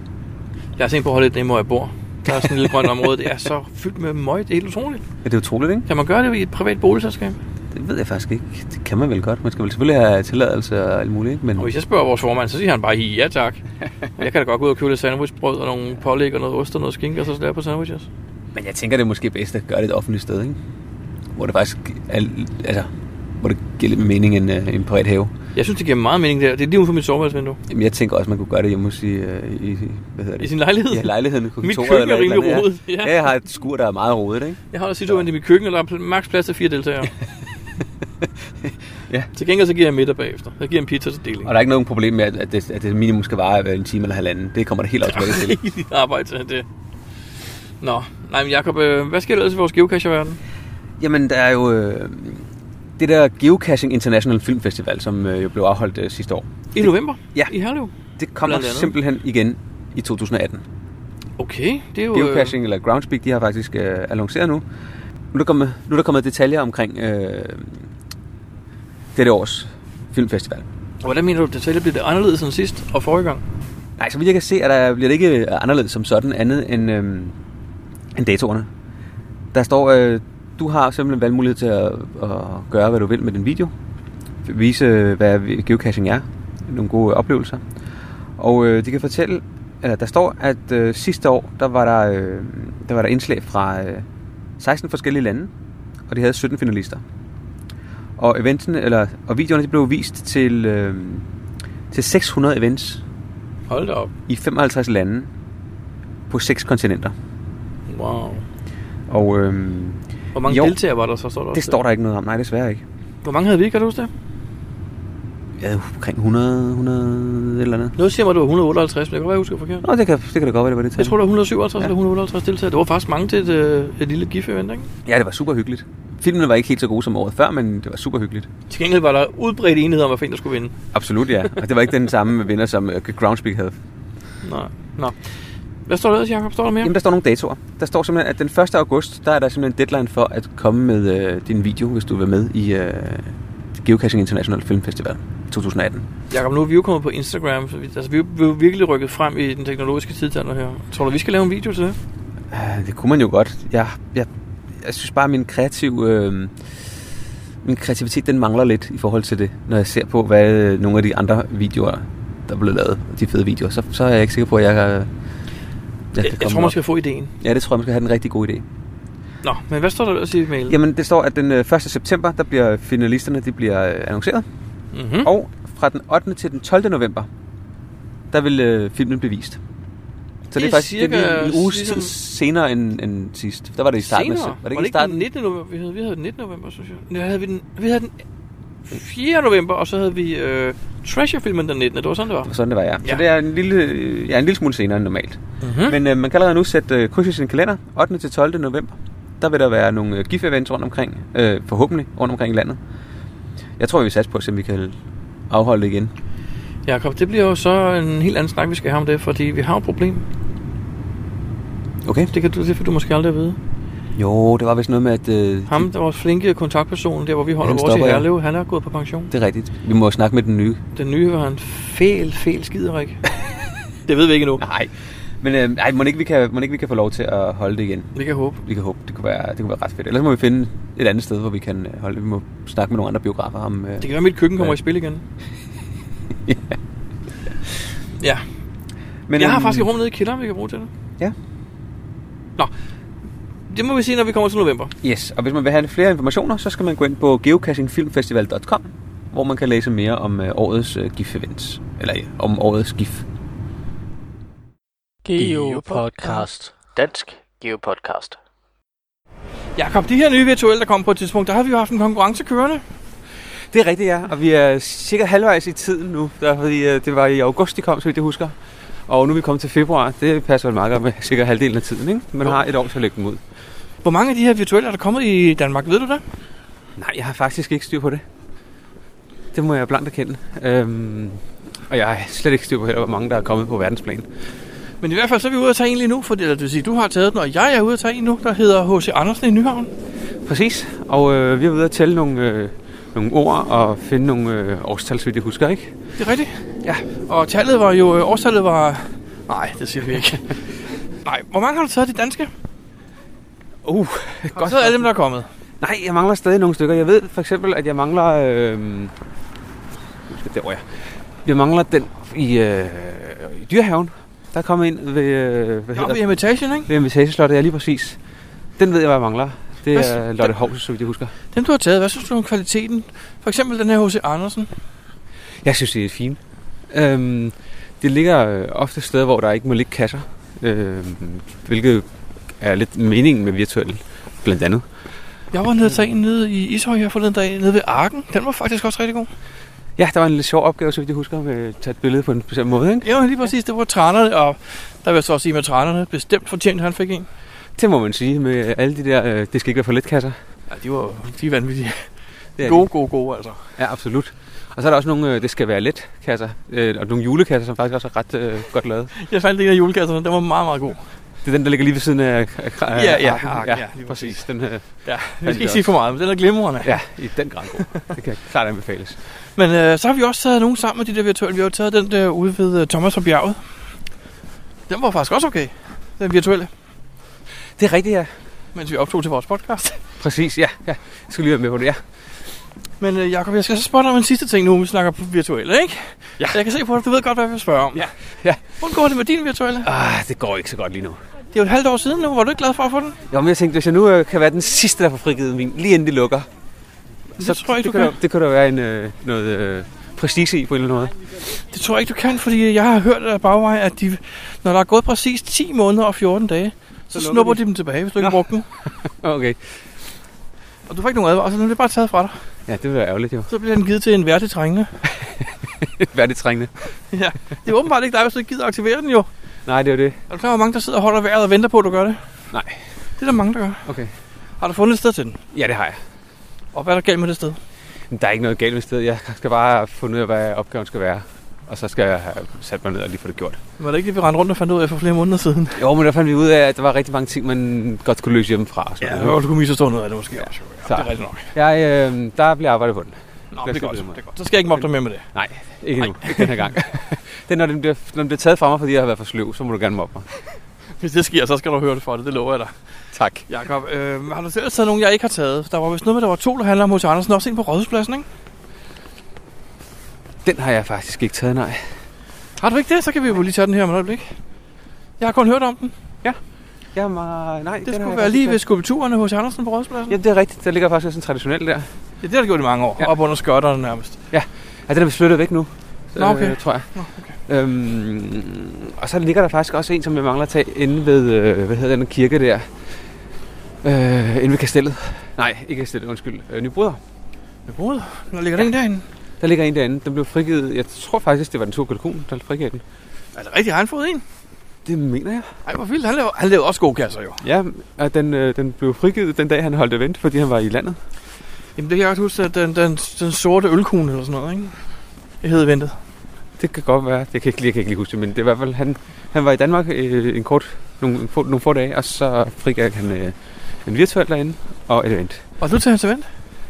[SPEAKER 2] Jeg har tænkt på at holde et nemme, hvor jeg bor. Der er sådan et lille grønt område, det er så fyldt med møg, det er helt utroligt.
[SPEAKER 1] Ja, det er utroligt, ikke?
[SPEAKER 2] Kan man gøre det i et privat boligselskab?
[SPEAKER 1] Det ved jeg faktisk ikke. Det kan man vel godt. Man skal vel selvfølgelig have tilladelse og alt muligt, ikke? Men
[SPEAKER 2] Og hvis jeg spørger vores formand, så siger han bare, ja tak. Jeg kan da godt gå ud og købe lidt sandwichbrød og nogle pålæg og noget ost og noget skinke, og så slå på sandwiches.
[SPEAKER 1] Men jeg tænker, det er måske bedst at gøre det et offentligt sted, ikke? Hvor det faktisk er, altså, hvor det giver lidt mere mening end øh, en privat have.
[SPEAKER 2] Jeg synes, det giver meget mening der. Det er lige uden for mit soveværelsesvindue.
[SPEAKER 1] Jamen, jeg tænker også, man kunne gøre det hjemme hos i, øh, i hvad hedder det?
[SPEAKER 2] I sin lejlighed.
[SPEAKER 1] Ja, lejligheden. på
[SPEAKER 2] Mit
[SPEAKER 1] kontoret
[SPEAKER 2] køkken
[SPEAKER 1] eller
[SPEAKER 2] er
[SPEAKER 1] et eller
[SPEAKER 2] rimelig
[SPEAKER 1] andet,
[SPEAKER 2] rodet.
[SPEAKER 1] Ja.
[SPEAKER 2] Ja.
[SPEAKER 1] ja, jeg har et skur, der er meget rodet, ikke?
[SPEAKER 2] Jeg holder sidst i mit køkken, og der er pl- maks plads til fire deltagere.
[SPEAKER 1] Ja.
[SPEAKER 2] Til gengæld så giver jeg middag bagefter. Jeg giver en pizza til deling.
[SPEAKER 1] Og der er ikke nogen problem med, at- at det, at det minimum skal vare øh, en time eller halvanden. Det kommer der helt automatisk til.
[SPEAKER 2] Rigeligt arbejde til det. Nå, nej, men Jacob, øh, hvad sker der ellers i vores geocache-verden?
[SPEAKER 1] Jamen, der er jo øh, det der Geocaching International Film Festival, som øh, jo blev afholdt øh, sidste år.
[SPEAKER 2] I november?
[SPEAKER 1] Ja.
[SPEAKER 2] I Herlev?
[SPEAKER 1] Det kommer
[SPEAKER 2] Blandt andet.
[SPEAKER 1] simpelthen igen i 2018.
[SPEAKER 2] Okay, det er jo... øh,
[SPEAKER 1] Geocaching eller Groundspeak, de har faktisk øh, annonceret nu. Nu er, der kommet, nu er der kommet detaljer omkring øh, dette års filmfestival.
[SPEAKER 2] Hvordan mener du, detaljer bliver det anderledes end sidst og forrige gang?
[SPEAKER 1] Nej, så vidt jeg kan se, at der bliver det ikke øh, anderledes som sådan andet end, øh, end datoerne. Der står, øh, du har simpelthen valgmulighed til at, at gøre, hvad du vil med din video. Vise, øh, hvad geocaching er. Nogle gode oplevelser. Og øh, de kan fortælle, eller der står, at øh, sidste år, der var der, øh, der var der indslag fra øh, 16 forskellige lande, og de havde 17 finalister. Og, eventen, eller, og videoerne de blev vist til, øh, til 600 events
[SPEAKER 2] Hold da op.
[SPEAKER 1] i 55 lande på seks kontinenter.
[SPEAKER 2] Wow.
[SPEAKER 1] Og øh,
[SPEAKER 2] Hvor mange
[SPEAKER 1] Jo.
[SPEAKER 2] deltagere var der så? Står der
[SPEAKER 1] det
[SPEAKER 2] også
[SPEAKER 1] står der ikke noget om. Nej, desværre ikke.
[SPEAKER 2] Hvor mange havde vi, kan du huske det?
[SPEAKER 1] Jeg havde omkring 100, 100 et eller andet.
[SPEAKER 2] Noget siger mig, at det var 158, men jeg kan godt være, jeg husker forkert.
[SPEAKER 1] Nå, det kan, det kan da godt være, det var det tal.
[SPEAKER 2] Jeg tror, der var 157
[SPEAKER 1] Ja.
[SPEAKER 2] ja. eller 158 deltagere. Det var faktisk mange til et, øh, et lille GIF-event, ikke?
[SPEAKER 1] Ja, det var super hyggeligt. Filmen var ikke helt så god som året før, men det var super hyggeligt.
[SPEAKER 2] Til gengæld var der udbredt enighed om, hvad for en, der skulle vinde.
[SPEAKER 1] Absolut, ja. Og det var ikke den samme vinder, som øh, Groundspeak havde.
[SPEAKER 2] Nej. Nå. Hvad står der ellers, Jacob? Står der mere?
[SPEAKER 1] Jamen, der står nogle datoer. Der står simpelthen, at den 1. august, der er der simpelthen en deadline for at komme med øh, din video, hvis du vil med i øh, Geocaching International Film Festival 2018.
[SPEAKER 2] Jakob, nu er vi jo kommet på Instagram, så vi, altså, vi, er jo- vi er jo virkelig rykket frem i den teknologiske tidsalder her. Tror du, vi skal lave en video til det?
[SPEAKER 1] Øh, det kunne man jo godt. Jeg, jeg, jeg synes bare, at min, kreativ, øh, min kreativitet den mangler lidt i forhold til det. Når jeg ser på, hvad øh, nogle af de andre videoer, der er blevet lavet, de fede videoer, så, så er jeg ikke sikker på, at jeg, øh, jeg, kan
[SPEAKER 2] Jeg, jeg
[SPEAKER 1] komme
[SPEAKER 2] tror, man
[SPEAKER 1] op.
[SPEAKER 2] skal få ideen.
[SPEAKER 1] Ja, det tror jeg, man skal have den rigtig god idé.
[SPEAKER 2] Nå, men hvad står der ellers i mailen?
[SPEAKER 1] Jamen, det står, at den øh, 1. september, der bliver finalisterne, de bliver øh, annonceret.
[SPEAKER 2] Mm-hmm.
[SPEAKER 1] Og fra den 8. til den 12. november, der vil øh, filmen blive vist. Så det
[SPEAKER 2] Det
[SPEAKER 1] er
[SPEAKER 2] er
[SPEAKER 1] faktisk det er
[SPEAKER 2] cirka-
[SPEAKER 1] lige en uge
[SPEAKER 2] ligesom-
[SPEAKER 1] ligesom... senere end, end sidst. Der var det i starten. af-
[SPEAKER 2] Senere.
[SPEAKER 1] Var det ikke i starten?
[SPEAKER 2] den 19. november? Vi havde, vi havde den 19. november, synes jeg. Nej, havde vi, den, vi havde den 4. november, og så havde vi øh, Treasure-filmen den 19. Det var sådan, det var.
[SPEAKER 1] Sådan det var, ja. Så
[SPEAKER 2] Ja.
[SPEAKER 1] det er en lille, øh, ja, en lille smule senere end normalt.
[SPEAKER 2] Mm-hmm.
[SPEAKER 1] Men øh, man kan allerede nu sætte øh, kryds i sin kalender. 8. til 12. november. Der vil der være nogle øh, GIF-events rundt omkring. Øh, forhåbentlig rundt omkring i landet. Jeg tror, vi vil satse på, at se, om vi kan afholde det igen.
[SPEAKER 2] Jakob, det bliver jo så en helt anden snak, vi skal have om det, fordi vi har et problem.
[SPEAKER 1] Okay.
[SPEAKER 2] Det, kan du, det får du måske aldrig at vide.
[SPEAKER 1] Jo, det var vist noget med, at... Øh,
[SPEAKER 2] Ham, der er vores flinke kontaktperson, der hvor vi holder
[SPEAKER 1] Han
[SPEAKER 2] vores i
[SPEAKER 1] stopper, ja.
[SPEAKER 2] Herlev, han er gået på pension.
[SPEAKER 1] Det er rigtigt. Vi må snakke med den nye.
[SPEAKER 2] Den nye var en fæl, fæl skiderik. det ved vi ikke endnu.
[SPEAKER 1] Nej. Men øh, ej, må ikke, vi kan, må ikke vi kan få lov til at holde det igen?
[SPEAKER 2] Vi kan håbe.
[SPEAKER 1] Vi kan håbe, det kunne være, det kunne være ret fedt. Ellers må vi finde et andet sted, hvor vi kan øh, holde det. Vi må snakke med nogle andre biografer om... Øh,
[SPEAKER 2] Det kan være, at mit køkken kommer
[SPEAKER 1] Ja.
[SPEAKER 2] i spil igen. ja. Men, jeg har
[SPEAKER 1] øhm,
[SPEAKER 2] faktisk et rum nede i kælderen, vi kan bruge til det.
[SPEAKER 1] Ja.
[SPEAKER 2] Nå. Det må vi sige, når vi kommer til november.
[SPEAKER 1] Yes, og hvis man vil have flere informationer, så skal man gå ind på geocachingfilmfestival.com, hvor man kan læse mere om øh, årets øh, GIF-events. Eller ja, om årets GIF.
[SPEAKER 3] Geopodcast. Dansk Geopodcast.
[SPEAKER 2] Jakob, de her nye virtuelle, der kom på et tidspunkt, der har vi jo haft en konkurrence kørende.
[SPEAKER 1] Det er rigtigt, ja. Og vi er cirka halvvejs i tiden nu, der, fordi øh, det var i august, de kom, så vidt jeg husker. Og nu er vi kommet til februar. Det passer vel meget godt med cirka halvdelen af tiden, ikke? Man har et år til at lægge dem ud.
[SPEAKER 2] Hvor mange af de her virtuelle er der kommet i Danmark, ved du det?
[SPEAKER 1] Nej, jeg har faktisk ikke styr på det. Det må jeg blankt erkende. Øhm, og jeg har slet ikke styr på, heller, hvor mange der er kommet på verdensplan.
[SPEAKER 2] Men i hvert fald så er vi ude at tage en lige nu, for det vil sige, du har taget den, og jeg er ude at tage en nu, der hedder H.C. Andersen i Nyhavn.
[SPEAKER 1] Præcis. Og øh, vi er ude at tælle nogle, øh, nogle ord og finde nogle øh, årstal, så vidt jeg husker, ikke?
[SPEAKER 2] Det er rigtigt? Ja. Og tallet var jo, øh, årstallet var... Nej, det siger vi ikke. Nej, hvor mange har du taget de danske?
[SPEAKER 1] Uh,
[SPEAKER 2] Har du taget alle dem, der er kommet?
[SPEAKER 1] Nej, jeg mangler stadig nogle stykker. Jeg ved for eksempel, at jeg mangler... Øh, nu skal jeg derovre, ja. Jeg mangler den i, øh, i dyrehaven. Der er kommet ind ved... Øh, hvad
[SPEAKER 2] Ja,
[SPEAKER 1] hedder
[SPEAKER 2] ved Imitation, ikke?
[SPEAKER 1] Ved Invitationslottet, ja lige præcis. Den ved jeg, hvad jeg mangler. Det
[SPEAKER 2] Hvad
[SPEAKER 1] er
[SPEAKER 2] sy-
[SPEAKER 1] Lotte Hovs, så vidt jeg husker.
[SPEAKER 2] Dem, du har taget, hvad synes du om kvaliteten? For eksempel den her H.C. Andersen.
[SPEAKER 1] Jeg synes, det er fint. Øhm, det ligger øh, ofte steder, hvor der ikke må ligge kasser. Øhm, hvilket er lidt meningen med virtuel, blandt andet.
[SPEAKER 2] Jeg var nede og tage en nede i Ishøj her forleden dag, nede ved Arken. Den var faktisk også rigtig god.
[SPEAKER 1] Ja, der var en lidt sjov opgave, så vidt jeg husker, med at tage et billede på en bestemt måde. Ikke?
[SPEAKER 2] Ja, lige præcis. Det var trænerne, og der vil jeg så også sige med trænerne. Bestemt fortjent, han fik en.
[SPEAKER 1] Det må man sige med alle de der, øh, det skal ikke være for let kasser.
[SPEAKER 2] Ja, de var de er vanvittige.
[SPEAKER 1] Det er
[SPEAKER 2] Gode, gode, gode, altså.
[SPEAKER 1] de. Ja, absolut. Og så er der også nogle, øh, det skal være let kasser, øh, og nogle julekasser, som faktisk også er ret øh, godt lavet.
[SPEAKER 2] Jeg fandt en af julekasserne, den var meget, meget god.
[SPEAKER 1] Det er den, der ligger lige ved siden af, af, af
[SPEAKER 2] Ja, ja,
[SPEAKER 1] arken.
[SPEAKER 2] arken, ja, lige
[SPEAKER 1] præcis. Den, øh,
[SPEAKER 2] Ja,
[SPEAKER 1] er
[SPEAKER 2] jeg skal ikke
[SPEAKER 1] også.
[SPEAKER 2] sige for meget, men den er glimrende.
[SPEAKER 1] ja, i den grad god. Det kan klart anbefales.
[SPEAKER 2] Men øh, så har vi også taget nogen sammen med de der virtuelle. Vi har jo taget den der ude ved øh, Thomas og Bjerget. Den var faktisk også okay, den virtuelle,
[SPEAKER 1] Det er rigtigt, ja.
[SPEAKER 2] mens vi optog til vores podcast.
[SPEAKER 1] Præcis, ja. ja. Jeg skulle lige være med på det, ja.
[SPEAKER 2] Men øh, Jacob, jeg skal så spørge dig om en sidste ting nu, vi snakker på virtuelle, ikke?
[SPEAKER 1] Ja.
[SPEAKER 2] Jeg kan se på dig, du ved godt, hvad vi spørger om.
[SPEAKER 1] Ja, ja.
[SPEAKER 2] Hvordan går det med din virtuelle?
[SPEAKER 1] Ah, det går ikke så godt lige nu.
[SPEAKER 2] Det er jo et halvt år siden nu, var du ikke glad for at få den?
[SPEAKER 1] Jo, men jeg tænkte, hvis jeg nu øh, kan være den sidste, der får frigivet min, lige inden de lukker,
[SPEAKER 2] Det tror jeg ikke,
[SPEAKER 1] det,
[SPEAKER 2] du
[SPEAKER 1] kan
[SPEAKER 2] kan.
[SPEAKER 1] der, det kan der være en, øh, noget øh, prestige i på en eller anden måde.
[SPEAKER 2] Det tror jeg ikke, du kan, fordi jeg har hørt af bagvej, at de, når der er gået præcis 10 måneder og 14 dage, så,
[SPEAKER 1] lukker
[SPEAKER 2] så snupper
[SPEAKER 1] de.
[SPEAKER 2] de. dem tilbage, hvis du ikke
[SPEAKER 1] Nå.
[SPEAKER 2] brugte dem.
[SPEAKER 1] Okay.
[SPEAKER 2] Og du får ikke nogen advarsel, så er det bare taget fra dig.
[SPEAKER 1] Ja, det vil være ærgerligt jo.
[SPEAKER 2] Så bliver den givet til en værdig trængende.
[SPEAKER 1] Værdigt trængende.
[SPEAKER 2] ja. Det er åbenbart ikke dig, hvis du ikke gider aktivere den jo.
[SPEAKER 1] Nej, det er jo det.
[SPEAKER 2] Er du klar, hvor mange der sidder og holder vejret og venter på, at du gør det?
[SPEAKER 1] Nej.
[SPEAKER 2] Det er der mange, der gør.
[SPEAKER 1] Okay.
[SPEAKER 2] Har du fundet et sted til den?
[SPEAKER 1] Ja, det har jeg.
[SPEAKER 2] Og hvad er der galt med det sted?
[SPEAKER 1] Men der er ikke noget galt med stedet. Jeg skal bare finde ud af, hvad opgaven skal være. Og så skal jeg have sat mig ned og lige få det gjort.
[SPEAKER 2] Var det ikke det, vi rendte rundt og fandt ud af for flere måneder siden?
[SPEAKER 1] Jo, men der fandt vi ud af, at der var rigtig mange ting, man godt skulle løse hjemmefra. og sådan noget.
[SPEAKER 2] du kunne misforstå noget af det måske. Ja, også.
[SPEAKER 1] Så
[SPEAKER 2] det er rigtigt nok.
[SPEAKER 1] jeg, øh, der bliver arbejdet på den.
[SPEAKER 2] Nå,
[SPEAKER 1] Lad
[SPEAKER 2] det
[SPEAKER 1] os
[SPEAKER 2] er,
[SPEAKER 1] se
[SPEAKER 2] godt,
[SPEAKER 1] det,
[SPEAKER 2] det er godt. Så skal jeg ikke mobbe dig mere med det.
[SPEAKER 1] Nej, ikke nu. Ikke den her gang. det er, når den, bliver, når den bliver taget fra mig, fordi jeg har været for sløv, så må du gerne mobbe mig.
[SPEAKER 2] Hvis det sker, så skal du høre det for det. Det lover jeg dig.
[SPEAKER 1] Tak.
[SPEAKER 2] Jakob, øh, har du selv taget nogen, jeg ikke har taget? Der var vist noget med, der var to, der handler om hos Andersen. Også en på Rådhuspladsen, ikke?
[SPEAKER 1] Den har jeg faktisk ikke taget, nej.
[SPEAKER 2] Har du ikke det? Så kan vi jo lige tage den her om et øjeblik. Jeg har kun hørt om den.
[SPEAKER 1] Jamen, øh, nej. den har
[SPEAKER 2] Det skulle
[SPEAKER 1] jeg
[SPEAKER 2] være
[SPEAKER 1] faktisk
[SPEAKER 2] lige
[SPEAKER 1] ikke
[SPEAKER 2] ved skulpturerne hos Andersen på Rådhuspladsen.
[SPEAKER 1] taget. Ja, det er rigtigt. Der ligger faktisk også en traditionel der.
[SPEAKER 2] Ja, det har det gjort i mange år.
[SPEAKER 1] Ja.
[SPEAKER 2] Ja. Op under skørterne nærmest.
[SPEAKER 1] Ja, den er flyttet væk nu.
[SPEAKER 2] Nå, okay.
[SPEAKER 1] Øh, tror jeg.
[SPEAKER 2] Nå,
[SPEAKER 1] okay. Øhm, og så ligger der faktisk også en, som jeg mangler at tage inde ved, øh, hvad hedder den kirke der? Øh, inde ved kastellet. Nej, ikke kastellet, undskyld. Øh, Nybrøder.
[SPEAKER 2] Ved bordet. Der ligger ja. den derinde.
[SPEAKER 1] Der ligger en derinde. Den blev frigivet. Jeg tror faktisk, det var den tur kalkun, der frigav den.
[SPEAKER 2] Er det rigtigt? Har han fået en?
[SPEAKER 1] Det mener jeg.
[SPEAKER 2] Ej, hvor vildt. Han lavede, han lavede også gode kasser, jo.
[SPEAKER 1] Ja, og den, øh, den blev frigivet den dag, han holdt event, fordi han var i landet.
[SPEAKER 2] Jamen, det kan jeg godt huske, at den, den, den sorte ølkugle eller sådan noget, ikke? Det hed ventet.
[SPEAKER 1] Det kan godt være. Det kan ikke, lige- jeg kan ikke lige huske det, men det er i hvert fald, han, han var i Danmark øh, en kort, nogle, få, nogle få dage, og så frigav han øh, en virtuel derinde og et event.
[SPEAKER 2] Og du til hans event?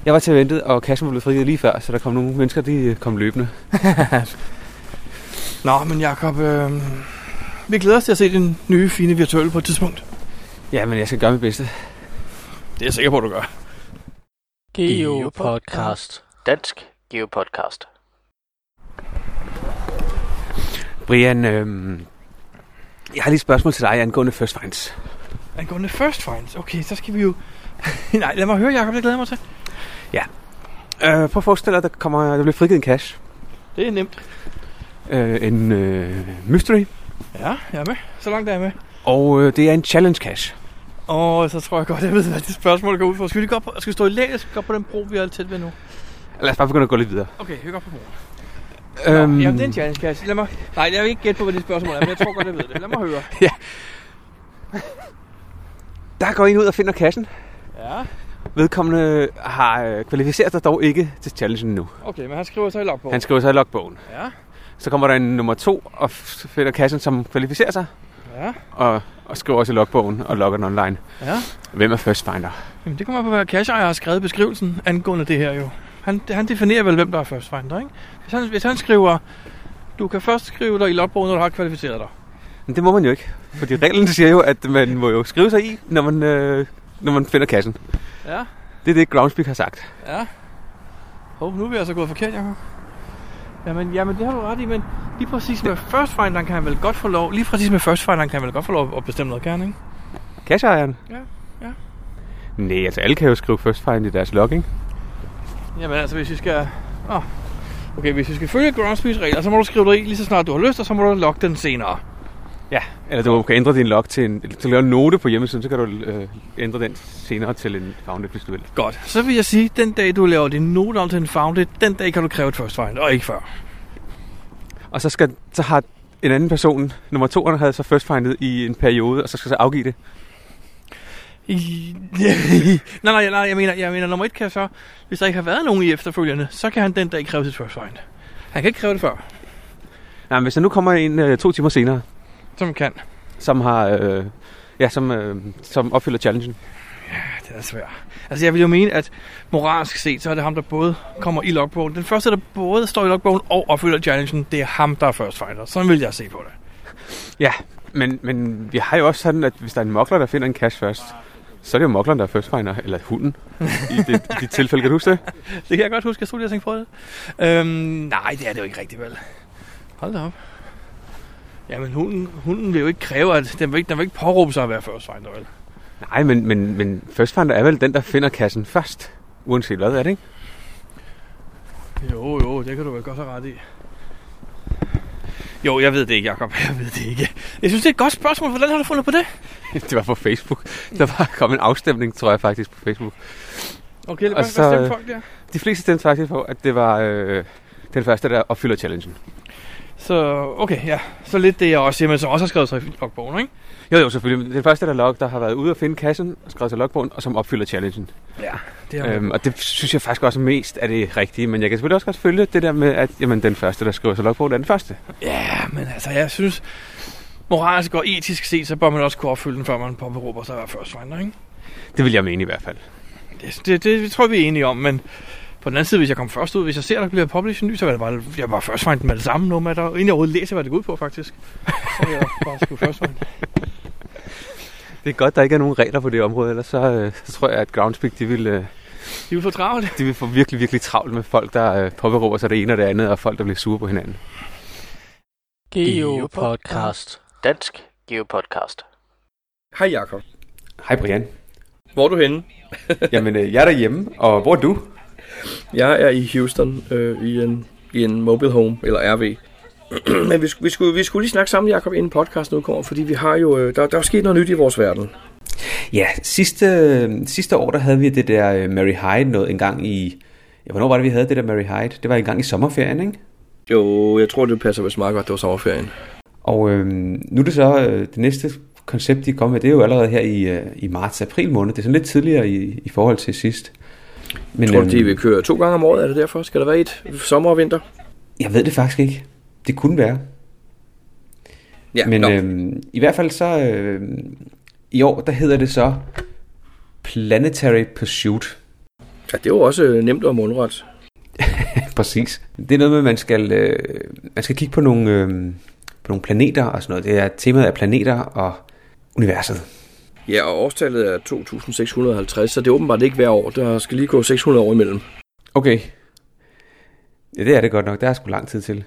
[SPEAKER 1] Jeg var til ventet, og kassen var blevet frigivet lige før, så der kom nogle mennesker, de øh, kom løbende.
[SPEAKER 2] Nå, men Jakob, øh, vi glæder os til at se din nye, fine virtuelle på et tidspunkt.
[SPEAKER 1] Ja, men jeg skal gøre mit bedste.
[SPEAKER 2] Det er jeg sikker på, at du gør.
[SPEAKER 3] Geo Podcast. Dansk Geo Podcast.
[SPEAKER 1] Brian, øh, jeg har lige et spørgsmål til dig angående First Finds.
[SPEAKER 2] Angående first finds. Okay, så skal vi jo... Nej, lad mig høre, Jakob, det glæder jeg mig til.
[SPEAKER 1] Øh, prøv at forestille dig, der, kommer, der bliver frigivet en cash.
[SPEAKER 2] Det er nemt.
[SPEAKER 1] Øh, en øh, mystery.
[SPEAKER 2] Ja, jeg er med. Så langt er jeg med.
[SPEAKER 1] Og øh, det er en challenge cash.
[SPEAKER 2] Og så tror jeg godt, jeg ved, hvad det spørgsmål går ud på. Skal vi lige gå op på, skal vi stå i læ, skal vi gå op på den bro, vi er tæt ved nu?
[SPEAKER 1] Lad os bare begynde at gå lidt videre. Øhm,
[SPEAKER 2] Okay, hygge op på broen. Nå, Jamen, det er en challenge, Kass. Lad mig... Nej, jeg vil ikke gætte på, hvad det spørgsmål er, men jeg tror godt, jeg ved det. Lad mig høre.
[SPEAKER 1] der går en ud og finder kassen.
[SPEAKER 2] Ja,
[SPEAKER 1] Vedkommende har øh, kvalificeret sig dog ikke til challengen endnu.
[SPEAKER 2] okay, men han skriver så i logbogen.
[SPEAKER 1] Han skriver sig i logbogen.
[SPEAKER 2] Ja,
[SPEAKER 1] Så kommer der en nummer to og f- finder kassen, som kvalificerer sig.
[SPEAKER 2] ja,
[SPEAKER 1] og, og skriver også i logbogen og logger den online.
[SPEAKER 2] ja.
[SPEAKER 1] Hvem er first finder?
[SPEAKER 2] Jamen, det kommer på, hvad Cash har skrevet i beskrivelsen angående det her jo. Han, han definerer vel, hvem der er first finder, ikke? Hvis han, hvis han skriver, du kan først skrive dig i logbogen, når du har kvalificeret dig.
[SPEAKER 1] Men det må man jo ikke. Fordi reglen siger jo, at man må jo skrive sig i, når man, øh, når man finder kassen.
[SPEAKER 2] Ja,
[SPEAKER 1] Det er det, Groundspeak har sagt.
[SPEAKER 2] ja. Hov, nu er vi altså gået forkert, Jacob. Jamen, jamen, det har du ret i, men lige præcis med first finderen kan han vel godt få lov, lige præcis med first finderen kan han vel godt få lov at bestemme noget, kan han, ikke?
[SPEAKER 1] Cashejeren?
[SPEAKER 2] Ja, ja.
[SPEAKER 1] Nej, altså alle kan jo skrive first find i deres logging.
[SPEAKER 2] Jamen altså, hvis vi skal... Nå. Okay, hvis vi skal følge Groundspeaks regler, så må du skrive dig i lige så snart du har lyst, og så må du logge den senere.
[SPEAKER 1] Ja, eller du kan ændre din log til en, til at lave en note på hjemmesiden, så kan du øh, ændre den senere til en founded, hvis du vil.
[SPEAKER 2] Godt. Så vil jeg sige, den dag du laver din note om til en founded, den dag kan du kræve et first find, og ikke før.
[SPEAKER 1] Og så, skal, så har en anden person, nummer to, han havde så first findet i en periode, og så skal så afgive det.
[SPEAKER 2] I... nej, nej, nej, jeg mener, jeg mener, nummer et kan så, hvis der ikke har været nogen i efterfølgende, så kan han den dag kræve sit first find. Han kan ikke kræve det før,
[SPEAKER 1] Nej, men hvis der nu kommer en øh, to timer senere,
[SPEAKER 2] som kan.
[SPEAKER 1] som har... Øh, ja, som, øh, som opfylder challengen.
[SPEAKER 2] Ja, det er svært. Altså, jeg vil jo mene, at moralsk set, så er det ham, der både kommer i logbogen. Den første, der både står i logbogen og opfylder challengen, det er ham, der er first finder. Sådan vil jeg se på det.
[SPEAKER 1] Men, men vi har jo også sådan, at hvis der er en mokler, der finder en cash først, så er det jo mokleren, der er first finder, eller hunden. I det, i dit tilfælde, kan du huske det?
[SPEAKER 2] Det kan jeg godt huske, jeg stod lige og tænkte på det. Øhm, nej, det er det jo ikke rigtigt, vel? Hold da op. Jamen, hunden, hunden vil jo ikke kræve, at den vil ikke, den vil ikke påråbe sig at være first finder, vel?
[SPEAKER 1] Nej, men, men, men first finder er vel den, der finder kassen først, uanset hvad, er det ikke?
[SPEAKER 2] Jo, jo, det kan du vel godt have ret i. Jo, jeg ved det ikke, Jacob. Jeg ved det ikke. Jeg synes, det er et godt spørgsmål. Hvordan har du fundet på det?
[SPEAKER 1] det var på Facebook. Der var kommet en afstemning, tror jeg faktisk, på Facebook.
[SPEAKER 2] Okay,
[SPEAKER 1] Og så, øh,
[SPEAKER 2] folk der?
[SPEAKER 1] De fleste stemte faktisk på, at det var øh, den første, der opfylder challengen.
[SPEAKER 2] Så, okay, ja. Så lidt det, jeg også siger, men som også har skrevet sig i logbogen, ikke?
[SPEAKER 1] Jo, jo, selvfølgelig. men Den første, der, log, der har været ude og finde kassen, og skrevet til logbogen, og som opfylder challengen.
[SPEAKER 2] Ja, det har
[SPEAKER 1] Øhm, og det synes jeg faktisk også mest er det rigtige, men jeg kan selvfølgelig også godt følge det der med, at jamen, den første, der skriver sig logbogen, er den første.
[SPEAKER 2] Ja, men altså, jeg synes, moralsk og etisk set, så bør man også kunne opfylde den, før man påberåber sig at være first finder, ikke?
[SPEAKER 1] Det vil jeg mene i hvert fald.
[SPEAKER 2] Det, det, det, tror jeg, vi er enige om, men på den anden side, hvis jeg kom først ud, hvis jeg ser, der bliver published en ny, så var det bare, jeg bare first find med det samme nummer, der, inden jeg overhovedet læser, hvad det går ud på, faktisk. Så ville jeg bare skulle first find.
[SPEAKER 1] Det er godt, der ikke er nogen regler på det område, ellers så, øh, så tror jeg, at Groundspeak, de vil, øh,
[SPEAKER 2] De vil få travlt.
[SPEAKER 1] de vil få virkelig, virkelig travlt med folk, der øh, påberåber sig det ene og det andet, og folk, der bliver sure på hinanden.
[SPEAKER 3] Geo Podcast. Dansk Geo Podcast.
[SPEAKER 5] Hej Jakob.
[SPEAKER 1] Hej Brian.
[SPEAKER 5] Hvor er du henne?
[SPEAKER 1] Jamen, øh, jeg er derhjemme, og hvor er du?
[SPEAKER 5] Jeg er i Houston øh, i, en, i en mobile home, eller RV. Men vi, skulle- vi, skulle, vi skulle lige snakke sammen, Jakob, inden podcasten udkommer, fordi vi har jo, øh, der, der er sket noget nyt i vores verden.
[SPEAKER 6] Ja, sidste, sidste år, der havde vi det der øh, Mary Hyde noget en gang i... Ja, hvornår var det, vi havde det der Mary Hyde? Det var en gang i sommerferien, ikke?
[SPEAKER 5] Jo, jeg tror, det passer vist meget godt, det var sommerferien.
[SPEAKER 6] Og øh, nu er det så øh, det næste koncept, de kommer med, det er jo allerede her i, øh, i marts-april måned. Det er sådan lidt tidligere i, i forhold til sidst. Men,
[SPEAKER 5] Tror du,
[SPEAKER 6] øhm,
[SPEAKER 5] de vil køre to gange om året? Er det derfor? Skal der være et sommer og vinter?
[SPEAKER 6] Jeg ved det faktisk ikke. Det kunne være.
[SPEAKER 5] Ja,
[SPEAKER 6] Men
[SPEAKER 5] nå.
[SPEAKER 6] øhm, i hvert fald så øh, i år, der hedder det så Planetary Pursuit.
[SPEAKER 5] ja, det er jo også øh, nemt og mundret.
[SPEAKER 6] Præcis. Det er noget med, at man skal, øh, man skal kigge på nogle, øh, på nogle planeter og sådan noget. Det er temaet af planeter og universet.
[SPEAKER 5] Ja, og årstallet er 2650, så det er åbenbart ikke hver år. Der skal lige gå 600 år imellem.
[SPEAKER 6] Okay. Ja, det er det godt nok. Der er sgu lang tid til.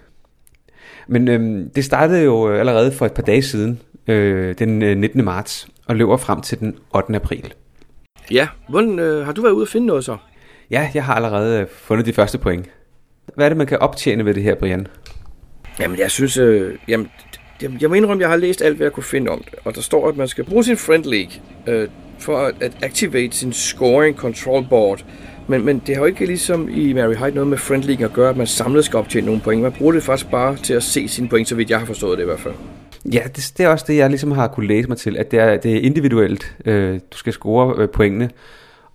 [SPEAKER 6] Men øhm, det startede jo øh, allerede for et par dage siden, øh, den øh, 19. marts, og løber frem til den 8. april.
[SPEAKER 5] Ja, hvordan øh, har du været ude at finde noget så?
[SPEAKER 6] Ja, jeg har allerede øh, fundet de første point. Hvad er det, man kan optjene ved det her, Brian?
[SPEAKER 5] Jamen, jeg synes... Øh, jamen, jeg, jeg må indrømme, jeg har læst alt, hvad jeg kunne finde om det. Og der står, at man skal bruge sin friend league øh, for at, at activate sin scoring control board. Men, men det har jo ikke ligesom i Mary Hyde noget med friend league at gøre, at man samlet skal optjene nogle point. Man bruger det faktisk bare til at se sine point, så vidt jeg har forstået det i hvert fald.
[SPEAKER 6] Ja, det, det er også det, jeg ligesom har kunne læse mig til, at det er, det er individuelt. Øh, du skal score øh, pointene,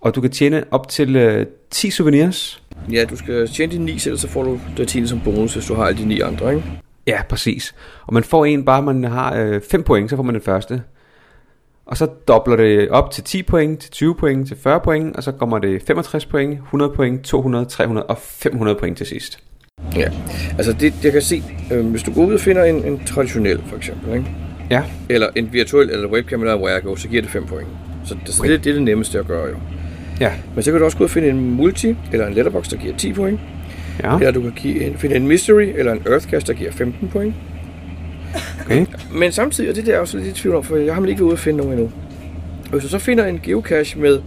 [SPEAKER 6] og du kan tjene op til øh, 10 souvenirs.
[SPEAKER 5] Ja, du skal tjene de 9 selv, så får du det 10 som bonus, hvis du har alle de 9 andre, ikke?
[SPEAKER 6] Ja, præcis. Og man får en bare, man har øh, 5 point, så får man den første. Og så dobler det op til 10 point, til 20 point, til 40 point, og så kommer det 65 point, 100 point, 200, 300 og 500 point til sidst.
[SPEAKER 5] Ja, altså det, jeg kan se, øh, hvis du går ud og finder en, en traditionel for eksempel, ikke?
[SPEAKER 6] Ja,
[SPEAKER 5] eller en virtuel eller webcam eller whereago, så giver det 5 point. Så, det, så det, det er det nemmeste at gøre jo.
[SPEAKER 6] ja,
[SPEAKER 5] Men så kan du også gå ud og finde en multi eller en letterbox, der giver 10 point.
[SPEAKER 6] ja,
[SPEAKER 5] Eller du kan give en, finde en mystery eller en earthcast, der giver 15 point.
[SPEAKER 6] okay.
[SPEAKER 5] Men samtidig, og det der er jeg også lidt i tvivl om, for jeg har nemlig ikke været ude at finde nogen endnu. Og Hvis du så finder en geocache med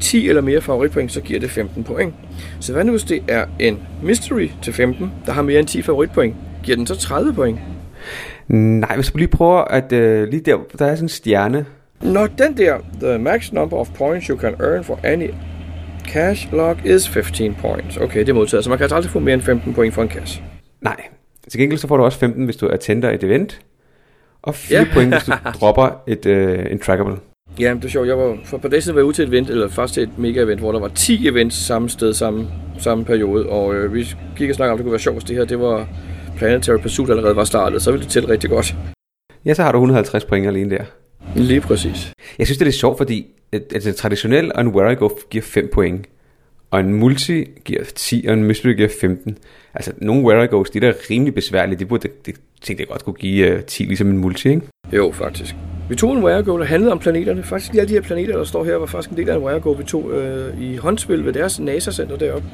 [SPEAKER 5] 10 eller mere favoritpoint, så giver det 15 point. Så hvad nu hvis det er en mystery til 15, der har mere end 10 favoritpoint? Giver den så 30 point?
[SPEAKER 6] Nej, hvis du lige prøver at øh, lige der, der er sådan en stjerne.
[SPEAKER 5] Når den der, the max number of points you can earn for any cash log is 15 points. Okay, det er modtaget, så man kan altså aldrig få mere end 15 point for en cash.
[SPEAKER 6] Nej. Til gengæld så får du også 15, hvis du attender et event. Og 4
[SPEAKER 5] Ja.
[SPEAKER 6] ja. point, hvis du dropper et, øh, en trackable.
[SPEAKER 5] Ja, det er sjovt. Jeg var for et par dage siden var jeg ude til et event, eller først til et mega-event, hvor der var 10 events samme sted, samme, samme periode. Og øh, vi gik og snakkede om, det kunne være sjovt, hvis det her, det var Planetary Pursuit allerede var startet. Så ville det tælle rigtig godt.
[SPEAKER 6] Ja, så har du 150 point alene der.
[SPEAKER 5] Lige præcis.
[SPEAKER 6] Jeg synes, det er lidt sjovt, fordi at, altså, en traditionel og en where I go giver 5 point. Og en multi giver 10, og en mystery giver 15. Altså, nogle where I goes, de der er rimelig besværlige, de burde, det, det tænkte jeg godt kunne give øh, 10, ligesom en multi, ikke?
[SPEAKER 5] Jo, faktisk. Vi tog en Wirego, der handlede om planeterne. Faktisk lige alle de her planeter, der står her, var faktisk en del af en Wirego, vi tog øh, i håndspil ved deres NASA-center deroppe.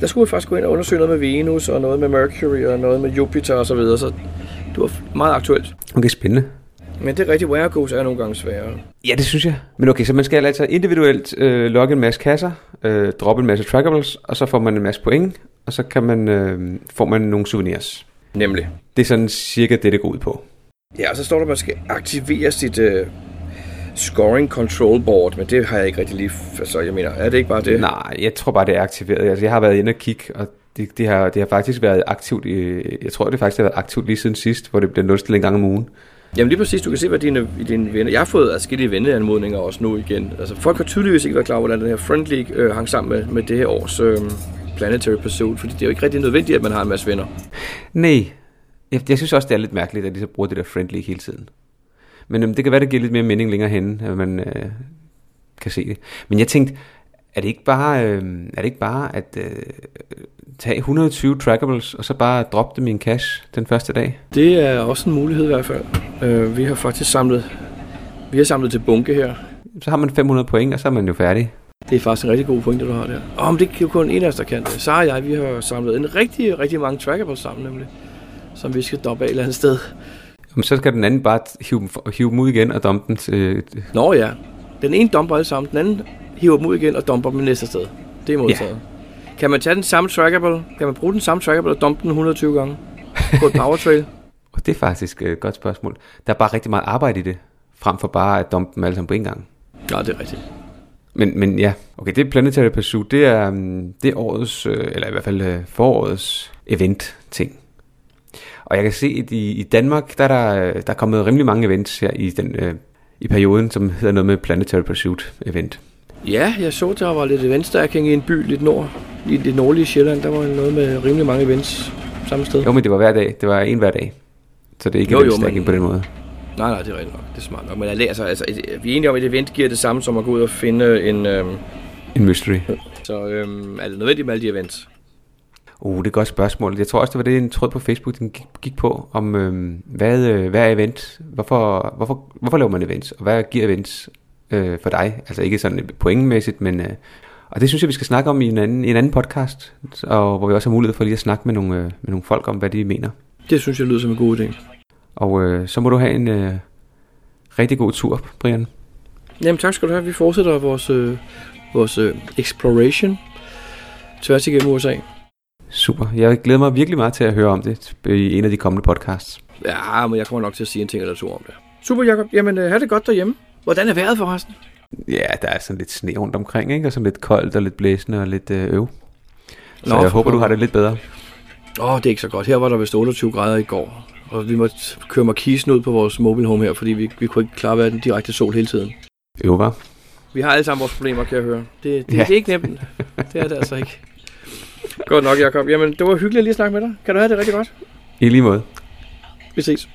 [SPEAKER 5] Der skulle vi faktisk gå ind og undersøge noget med Venus, og noget med Mercury, og noget med Jupiter osv., så, videre, så det var f- meget aktuelt.
[SPEAKER 6] Okay, spændende.
[SPEAKER 5] Men det er rigtigt, Wiregos er nogle gange sværere.
[SPEAKER 6] Ja, det synes jeg. Men okay, så man skal altså individuelt øh, logge en masse kasser, øh, droppe en masse trackables, og så får man en masse point, og så kan man, øh, får man nogle souvenirs.
[SPEAKER 5] Nemlig.
[SPEAKER 6] Det er sådan cirka det, det går ud på.
[SPEAKER 5] Ja, og så står der, at man skal aktivere sit øh, scoring control board, men det har jeg ikke rigtig lige... f- Altså, jeg mener, er det ikke bare det?
[SPEAKER 6] Nej, jeg tror bare, det er aktiveret. Altså, jeg har været inde og kigge, og det, det, har, det har faktisk været aktivt. I, jeg tror, det faktisk har været aktivt lige siden sidst, hvor det bliver nulstillet en gang om ugen.
[SPEAKER 5] Jamen lige præcis, du kan se, hvad dine, dine venner... Jeg har fået adskillige venneanmodninger også nu igen. Altså, folk har tydeligvis ikke været klar over, hvordan den her Friend League øh, hang sammen med, med det her års øh, Planetary Pursuit, fordi det er jo ikke rigtig nødvendigt, at man har en masse venner.
[SPEAKER 6] Nej, jeg, jeg synes også, det er lidt mærkeligt, at de så bruger det der friendly hele tiden. Men øhm, det kan være, det giver lidt mere mening længere henne, at man øh, kan se det. Men jeg tænkte, er det ikke bare, øh, er det ikke bare at øh, tage 120 trackables, og så bare droppe dem i en cache den første dag?
[SPEAKER 5] Det er også en mulighed i hvert fald. Øh, vi har faktisk samlet... Vi har samlet til bunke her.
[SPEAKER 6] Så har man 500 point, og så er man jo færdig.
[SPEAKER 5] Det er faktisk en rigtig god pointe, du har der. Åh, men det er jo kun en af os, der kan det. Sara og jeg, vi har samlet en rigtig, rigtig mange trackables sammen, nemlig. Som vi skal doppe af et eller andet sted.
[SPEAKER 6] Jamen, så skal den anden bare hive dem, for- hive dem ud igen og dumpe dem. Til, øh,
[SPEAKER 5] Nå ja. Den ene dumper alle sammen, den anden hiver dem ud igen og dumper dem næste sted. Det er modtaget. Ja. Kan man tage den samme trackable? Kan man bruge den samme trackable og dumpe den 120 gange? På et powertrail?
[SPEAKER 6] og det er faktisk øh, et godt spørgsmål. Der er bare rigtig meget arbejde i det, frem for bare at dumpe dem alle sammen på en gang.
[SPEAKER 5] Nej, det er rigtigt.
[SPEAKER 6] Men, men ja, okay, det er Planetary Pursuit, det er, mm, det er årets, øh, eller i hvert fald øh, forårets event-ting. Og jeg kan se, at i, i Danmark, der er, der, øh, der er kommet rimelig mange events her i, den, øh, i perioden, som hedder noget med Planetary Pursuit event.
[SPEAKER 5] Ja, jeg så, der var lidt eventstærking i en by lidt nord. I det nordlige Sjælland, der var noget med rimelig mange events samme sted.
[SPEAKER 6] Jo, men det var hver dag, det var en hver dag. Så det er ikke
[SPEAKER 5] Jo,
[SPEAKER 6] jo,
[SPEAKER 5] jo,
[SPEAKER 6] jo, men...
[SPEAKER 5] men-
[SPEAKER 6] på den måde.
[SPEAKER 5] Nej, nej, det er rigtigt nok. Det er smart nok. Men jeg læser, altså, et, vi er enige om, at et event giver det samme som at gå ud og finde en... Øhm,
[SPEAKER 6] En mystery.
[SPEAKER 5] så øhm, er det nødvendigt med alle de events?
[SPEAKER 6] Uh, det er et godt spørgsmål. Jeg tror også, det var det, en tråd på Facebook, den gik, gik på, om øh, hvad, øh, hvad er event? Hvorfor, hvorfor, hvorfor laver man events? Og hvad giver events øh, for dig? Altså ikke sådan pointmæssigt, men... Øh, og det synes jeg, vi skal snakke om i en anden, i en anden podcast, og hvor vi også har mulighed for lige at snakke med nogle, øh, med nogle folk om, hvad de mener.
[SPEAKER 5] Det synes jeg lyder som en god idé.
[SPEAKER 6] Og øh, så må du have en øh, rigtig god tur, Brian.
[SPEAKER 5] Jamen tak skal du have. Vi fortsætter vores, øh, vores øh, exploration tværs igennem USA.
[SPEAKER 6] Super. Jeg glæder mig virkelig meget til at høre om det i en af de kommende podcasts.
[SPEAKER 5] Ja, men jeg kommer nok til at sige en ting eller to om det. Super, Jacob. Jamen, øh, have det godt derhjemme. Hvordan er vejret forresten?
[SPEAKER 6] Ja, der er sådan lidt sne rundt omkring, ikke? Og sådan lidt koldt og lidt blæsende og lidt øh, øv. Så
[SPEAKER 5] Nå,
[SPEAKER 6] jeg
[SPEAKER 5] for
[SPEAKER 6] håber, du
[SPEAKER 5] pokker.
[SPEAKER 6] har det lidt bedre.
[SPEAKER 5] Åh, oh, det er ikke så godt. Her var der vist 28 grader i går. Og vi måtte køre markisen ud på vores mobile home her, fordi vi, vi kunne ikke klare at være i den direkte sol hele tiden.
[SPEAKER 6] Øv, var.
[SPEAKER 5] Vi har alle sammen vores problemer, kan jeg høre. Det, det,
[SPEAKER 6] Ja.
[SPEAKER 5] ja. det er ikke nemt. Det er det altså ikke. Godt nok, Jacob. Jamen, det var hyggeligt lige at snakke med dig. Kan du have det rigtig godt?
[SPEAKER 6] I lige måde.
[SPEAKER 5] Vi ses.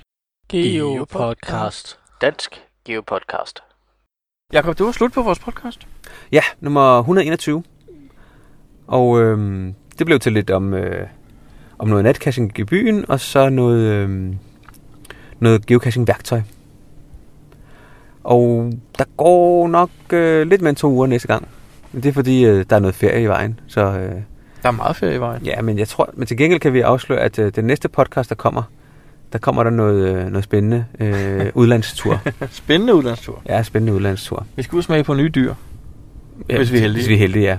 [SPEAKER 3] Geo Podcast. Dansk Geo Podcast.
[SPEAKER 2] Jakob, det var slut på vores podcast.
[SPEAKER 1] Ja, nummer 121. Og øhm, det blev til lidt om, øh, om noget natcaching i byen, og så noget, øhm, noget geocaching-værktøj. Og der går nok øh, lidt mere end to uger næste gang. Men det er fordi, øh, der er noget ferie i vejen. Så øh,
[SPEAKER 2] Der er meget ferie i vejen.
[SPEAKER 1] ja, men jeg tror, men til gengæld kan vi afsløre, at øh, den næste podcast, der kommer, der kommer der noget, øh, noget spændende øh, udlandstur.
[SPEAKER 2] Spændende udlandstur.
[SPEAKER 1] Ja, spændende udlandstur.
[SPEAKER 2] Vi skal ud og smage på nye dyr.
[SPEAKER 1] Ja,
[SPEAKER 2] Hvis vi er heldige.
[SPEAKER 1] Hvis vi er heldige, ja.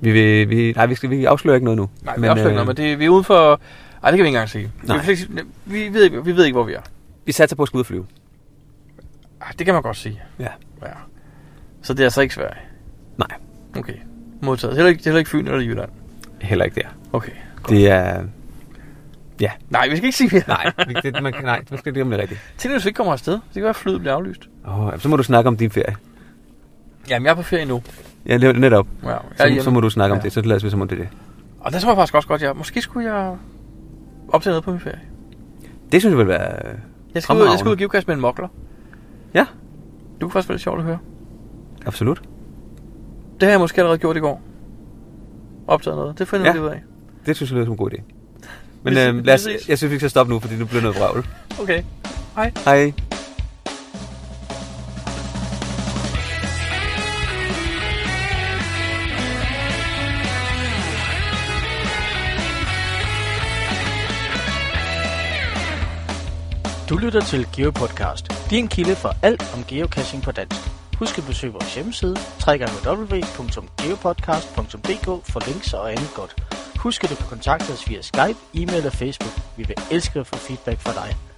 [SPEAKER 1] Vi, vil, vi, nej, vi, skal, vi afslører ikke noget nu.
[SPEAKER 2] Nej, men, vi, øh... noget, men det, vi er ude for... Ej, det kan vi ikke engang sige. Vi, er flexi- vi, ved, ikke- vi ved ikke, hvor vi er.
[SPEAKER 1] vi satser på at skulle ud og flyve.
[SPEAKER 2] Ej, det kan man godt sige.
[SPEAKER 1] Ja.
[SPEAKER 2] ja. Så det er altså ikke Sverige?
[SPEAKER 1] Nej.
[SPEAKER 2] Okay. Modtaget. Heller ikke, heller ikke Fyn eller Jylland.
[SPEAKER 1] Heller ikke der.
[SPEAKER 2] Okay.
[SPEAKER 1] Det er...
[SPEAKER 2] Nej, vi skal ikke sige mere.
[SPEAKER 1] Nej, det, man, kan- nej, man skal det om det rigtigt.
[SPEAKER 2] Tænk, hvis vi ikke kommer afsted. Det kan være, at flyet bliver aflyst.
[SPEAKER 1] Oh, så må du snakke om din ferie.
[SPEAKER 2] Jamen, jeg er på ferie nu.
[SPEAKER 1] Ja, le- netop.
[SPEAKER 2] Ja, jeg er
[SPEAKER 1] Så,
[SPEAKER 2] hjemme.
[SPEAKER 1] så må du snakke om
[SPEAKER 2] Ja.
[SPEAKER 1] det. Så lad os vide, om det er det.
[SPEAKER 2] Og der tror jeg faktisk også godt, jeg... Måske skulle jeg optage noget på min ferie.
[SPEAKER 1] Det synes jeg vil være... øh,
[SPEAKER 2] Jeg skal, ud, jeg skal
[SPEAKER 1] Fremragende.
[SPEAKER 2] ud og give med en mokler.
[SPEAKER 1] Ja.
[SPEAKER 2] Du kunne faktisk være lidt sjovt at høre.
[SPEAKER 1] Absolut.
[SPEAKER 2] Det har jeg måske allerede gjort i går. Optaget noget. Det finder
[SPEAKER 1] Ja.
[SPEAKER 2] vi ud af.
[SPEAKER 1] Det synes jeg lyder som en god idé. Men
[SPEAKER 2] Vi-
[SPEAKER 1] øh, lad os,
[SPEAKER 2] vi ses.
[SPEAKER 1] jeg synes, vi skal stoppe nu, fordi nu bliver noget vrøvl.
[SPEAKER 2] Okay.
[SPEAKER 1] Hej.
[SPEAKER 3] Du lytter til GeoPodcast, din kilde for alt om geocaching på dansk. Husk at besøge vores hjemmeside, www.geopodcast.dk for links og andet godt. Husk, at du kan kontakte os via Skype, e-mail og Facebook. Vi vil elske at få feedback fra dig.